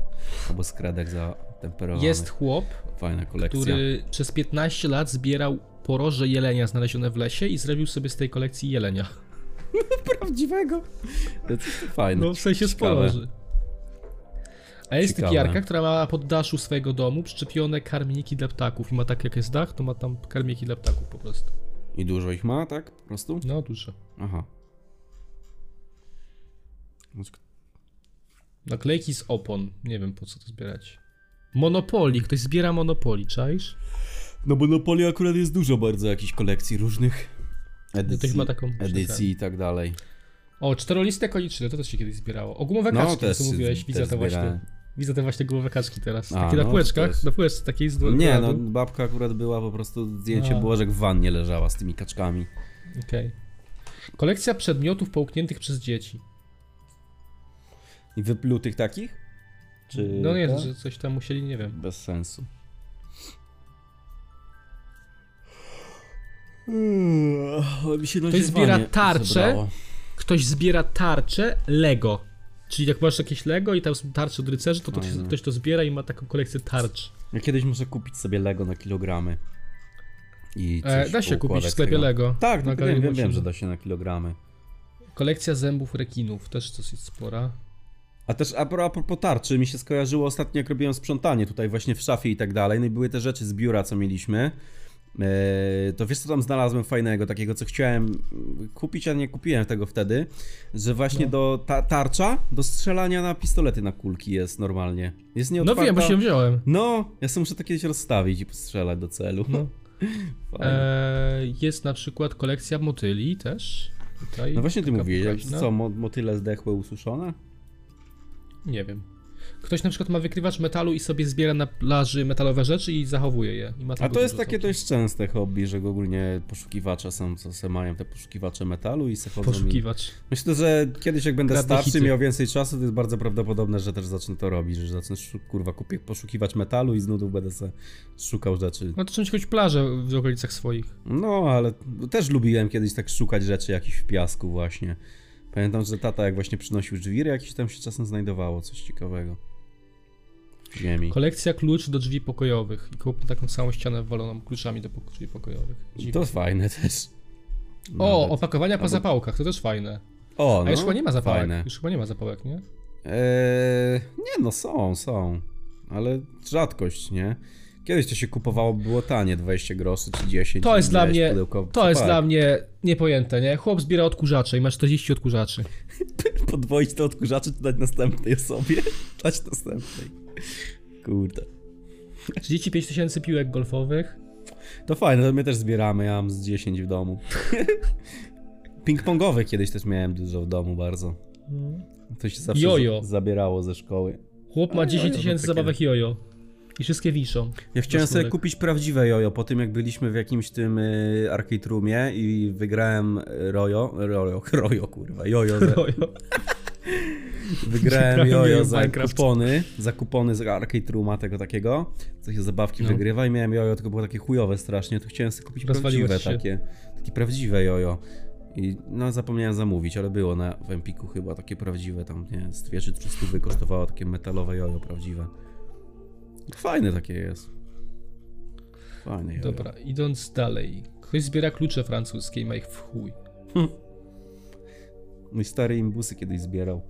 Speaker 2: albo z kredek zatemperowanych.
Speaker 1: Jest chłop,
Speaker 2: Fajna kolekcja.
Speaker 1: który przez 15 lat zbierał poroże jelenia znalezione w lesie i zrobił sobie z tej kolekcji jelenia.
Speaker 2: Prawdziwego. To jest fajne.
Speaker 1: No w sensie z
Speaker 2: Ciekawe.
Speaker 1: poloży. A jest
Speaker 2: Ciekawe.
Speaker 1: typiarka, która ma na poddaszu swojego domu przyczepione karmniki dla ptaków. I ma tak jak jest dach, to ma tam karmniki dla ptaków po prostu.
Speaker 2: I dużo ich ma, tak? Po prostu?
Speaker 1: No duże.
Speaker 2: Aha.
Speaker 1: Naklejki z opon. Nie wiem po co to zbierać. Monopoli. Ktoś zbiera monopoli, czaisz?
Speaker 2: No bo Napoli akurat jest dużo bardzo jakichś kolekcji różnych. Edycji,
Speaker 1: Ktoś No, ma taką-
Speaker 2: edycji i tak dalej.
Speaker 1: O, czteroliste koniczne, to też się kiedyś zbierało. O głowe
Speaker 2: No,
Speaker 1: kaczki,
Speaker 2: też
Speaker 1: co
Speaker 2: się-
Speaker 1: mówiłeś, widzę
Speaker 2: też
Speaker 1: to
Speaker 2: zbierałem.
Speaker 1: właśnie. Widzę te właśnie głowe kaczki teraz.
Speaker 2: A,
Speaker 1: takie na
Speaker 2: no,
Speaker 1: półeczkach,
Speaker 2: to też.
Speaker 1: na półeczce takiej z dwa-
Speaker 2: Nie, no
Speaker 1: dwa-
Speaker 2: babka akurat była po prostu, zdjęcie
Speaker 1: A.
Speaker 2: było, że jak w wannie leżała z tymi kaczkami.
Speaker 1: Okej. Kolekcja przedmiotów połkniętych przez dzieci.
Speaker 2: I wyplutych takich? Czy
Speaker 1: No nie,
Speaker 2: to?
Speaker 1: że coś tam musieli, nie wiem.
Speaker 2: Bez sensu. Mm, ale mi się
Speaker 1: Ktoś
Speaker 2: nagrywanie
Speaker 1: zbiera tarcze.
Speaker 2: zebrało.
Speaker 1: Ktoś zbiera tarcze Lego. Czyli jak masz jakieś Lego i tam są tarcze od rycerzy,
Speaker 2: No,
Speaker 1: to, to ktoś, ktoś to zbiera i ma taką kolekcję tarcz.
Speaker 2: Ja kiedyś muszę kupić sobie Lego na kilogramy. I coś
Speaker 1: E, da się
Speaker 2: poukładać
Speaker 1: kupić w sklepie
Speaker 2: tego.
Speaker 1: Lego.
Speaker 2: Tak, no,
Speaker 1: Na
Speaker 2: wiem,
Speaker 1: Galerii
Speaker 2: wiem, wiem,
Speaker 1: Młodszym.
Speaker 2: że da się na kilogramy.
Speaker 1: Kolekcja zębów rekinów, też dosyć spora.
Speaker 2: A też a pro- a propos tarczy, mi się skojarzyło ostatnio, jak robiłem sprzątanie tutaj właśnie w szafie i tak dalej, no i były te rzeczy z biura, co mieliśmy. Eee, To wiesz, co tam znalazłem fajnego, takiego, co chciałem mm, kupić, a nie kupiłem tego wtedy, że właśnie
Speaker 1: No.
Speaker 2: do ta tarcza do strzelania na pistolety na kulki jest normalnie. Jest
Speaker 1: No
Speaker 2: nieotwarta.
Speaker 1: wiem, bo się wziąłem.
Speaker 2: No, ja sobie muszę to kiedyś rozstawić i postrzelać do celu.
Speaker 1: No.
Speaker 2: Fajnie.
Speaker 1: E, jest na przykład kolekcja motyli też. Tutaj
Speaker 2: No właśnie ty
Speaker 1: taka
Speaker 2: mówiłeś, jak,
Speaker 1: pokaźna.
Speaker 2: co, mo- motyle zdechłe, ususzone?
Speaker 1: Nie wiem. Ktoś na przykład ma wykrywacz metalu i sobie zbiera na plaży metalowe rzeczy i zachowuje je. I ma
Speaker 2: A
Speaker 1: tego
Speaker 2: to jest
Speaker 1: dużo
Speaker 2: takie
Speaker 1: całkiem.
Speaker 2: dość częste hobby, że ogólnie poszukiwacze są, co se mają te poszukiwacze metalu i se chodzą i...
Speaker 1: Poszukiwacz.
Speaker 2: Myślę, że kiedyś jak będę
Speaker 1: Kradnie
Speaker 2: starszy
Speaker 1: hity.
Speaker 2: i miał więcej czasu, to jest bardzo prawdopodobne, że też zacznę to robić, że zacznę, szu- kurwa, kupię poszukiwać metalu i z nudów będę se szukał rzeczy.
Speaker 1: No to czymś choć plażę w okolicach swoich.
Speaker 2: No, ale też lubiłem kiedyś tak szukać rzeczy jakichś w piasku właśnie. Pamiętam, że tata jak właśnie przynosił żwiry, jakieś tam się czasem znajdowało coś ciekawego. W ziemi.
Speaker 1: Kolekcja kluczy do drzwi pokojowych. I kupmy taką całą ścianę waloną kluczami do pok- drzwi pokojowych.
Speaker 2: To
Speaker 1: Dziwne.
Speaker 2: jest fajne też.
Speaker 1: O,
Speaker 2: Nawet.
Speaker 1: opakowania po
Speaker 2: Nawet.
Speaker 1: zapałkach, to też fajne.
Speaker 2: O,
Speaker 1: A
Speaker 2: no,
Speaker 1: już chyba nie ma zapałek.
Speaker 2: Fajne.
Speaker 1: Już chyba nie ma zapałek, nie?
Speaker 2: Eee, nie no, są, są. Ale rzadkość, nie? Kiedyś to się kupowało, było tanie, 20 groszy czy 10.
Speaker 1: To jest
Speaker 2: i
Speaker 1: dla
Speaker 2: miałeś
Speaker 1: mnie.
Speaker 2: pudełko w
Speaker 1: To jest
Speaker 2: zapałek.
Speaker 1: dla mnie niepojęte, nie? Chłop zbiera odkurzacze i ma 40 odkurzaczy.
Speaker 2: Podwoić to odkurzacze, czy dać następnej osobie? Dać następnej. Kurde.
Speaker 1: 35 tysięcy piłek golfowych.
Speaker 2: To fajne, to my też zbieramy, ja mam z 10 w domu. Ping-pongowe kiedyś też miałem dużo w domu bardzo. To się zawsze
Speaker 1: Mhm. Jojo.
Speaker 2: za- zabierało ze szkoły.
Speaker 1: Chłop
Speaker 2: A,
Speaker 1: ma
Speaker 2: jojo,
Speaker 1: 10
Speaker 2: no
Speaker 1: tysięcy
Speaker 2: takie.
Speaker 1: zabawek jojo. I wszystkie wiszą.
Speaker 2: Ja chciałem
Speaker 1: Zasmolek.
Speaker 2: sobie kupić prawdziwe jojo po tym, jak byliśmy w jakimś tym y, arcade roomie i wygrałem y, rojo, rojo, rojo kurwa, jojo, za,
Speaker 1: Jojo.
Speaker 2: wygrałem
Speaker 1: Wygrałem jojo
Speaker 2: jojo
Speaker 1: w
Speaker 2: za
Speaker 1: Minecraft.
Speaker 2: kupony, za kupony z arcade rooma tego takiego, co się zabawki
Speaker 1: No.
Speaker 2: wygrywa i miałem jojo, tylko było takie chujowe strasznie, to chciałem sobie kupić
Speaker 1: Rozwaliłeś
Speaker 2: prawdziwe
Speaker 1: się.
Speaker 2: takie, takie prawdziwe jojo. I no zapomniałem zamówić, ale było na w Empiku chyba takie prawdziwe tam, nie wiem, z dwie czy trzy stówy kosztowało takie metalowe jojo prawdziwe. Fajne takie jest. Fajne jojo.
Speaker 1: Dobra, idąc dalej. Ktoś zbiera klucze francuskie i ma ich w chuj.
Speaker 2: Mój stary imbusy kiedyś zbierał.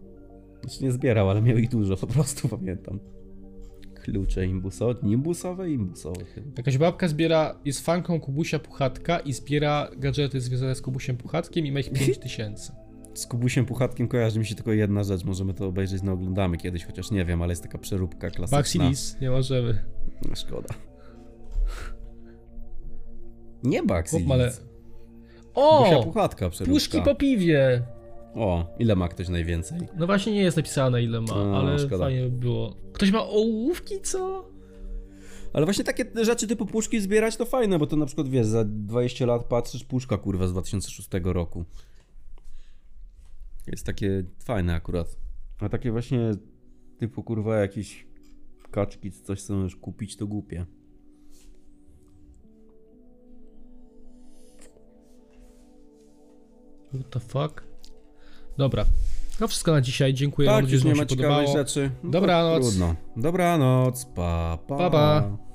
Speaker 2: Znaczy nie zbierał, ale miał ich dużo, po prostu pamiętam. Klucze imbusowe, nimbusowe i imbusowe chyba.
Speaker 1: Jakaś babka zbiera, jest fanką Kubusia Puchatka i zbiera gadżety związane z Kubusiem Puchatkiem i ma ich 5 tysięcy.
Speaker 2: Z Kubusiem Puchatkiem kojarzy mi się tylko jedna rzecz, możemy to obejrzeć na Oglądamy kiedyś, chociaż nie wiem, ale jest taka przeróbka klasyczna. No,
Speaker 1: Baxilis, nie możemy.
Speaker 2: Szkoda. Nie Baxilis.
Speaker 1: Chłop ma le...
Speaker 2: Kubusia
Speaker 1: O!
Speaker 2: Puchatka przeróbka.
Speaker 1: Puszki po piwie!
Speaker 2: O, ile ma ktoś najwięcej?
Speaker 1: No właśnie nie jest napisane ile ma,
Speaker 2: O,
Speaker 1: ale
Speaker 2: szkoda.
Speaker 1: fajnie by było. Ktoś ma ołówki, co?
Speaker 2: Ale właśnie takie rzeczy typu puszki zbierać to fajne, bo to na przykład wiesz, za 20 lat patrzysz puszka kurwa z 2006 roku. Jest takie fajne akurat. A takie właśnie typu kurwa jakieś kaczki czy coś co możesz kupić to głupie.
Speaker 1: What the fuck? Dobra. To wszystko na dzisiaj. Dziękuję. Mam
Speaker 2: tak,
Speaker 1: nadzieję,
Speaker 2: już
Speaker 1: że
Speaker 2: nie
Speaker 1: wam
Speaker 2: ma
Speaker 1: się
Speaker 2: ciekawych
Speaker 1: podobało.
Speaker 2: rzeczy. No to
Speaker 1: Dobranoc.
Speaker 2: Trudno. Dobranoc, pa pa.
Speaker 1: Pa, pa.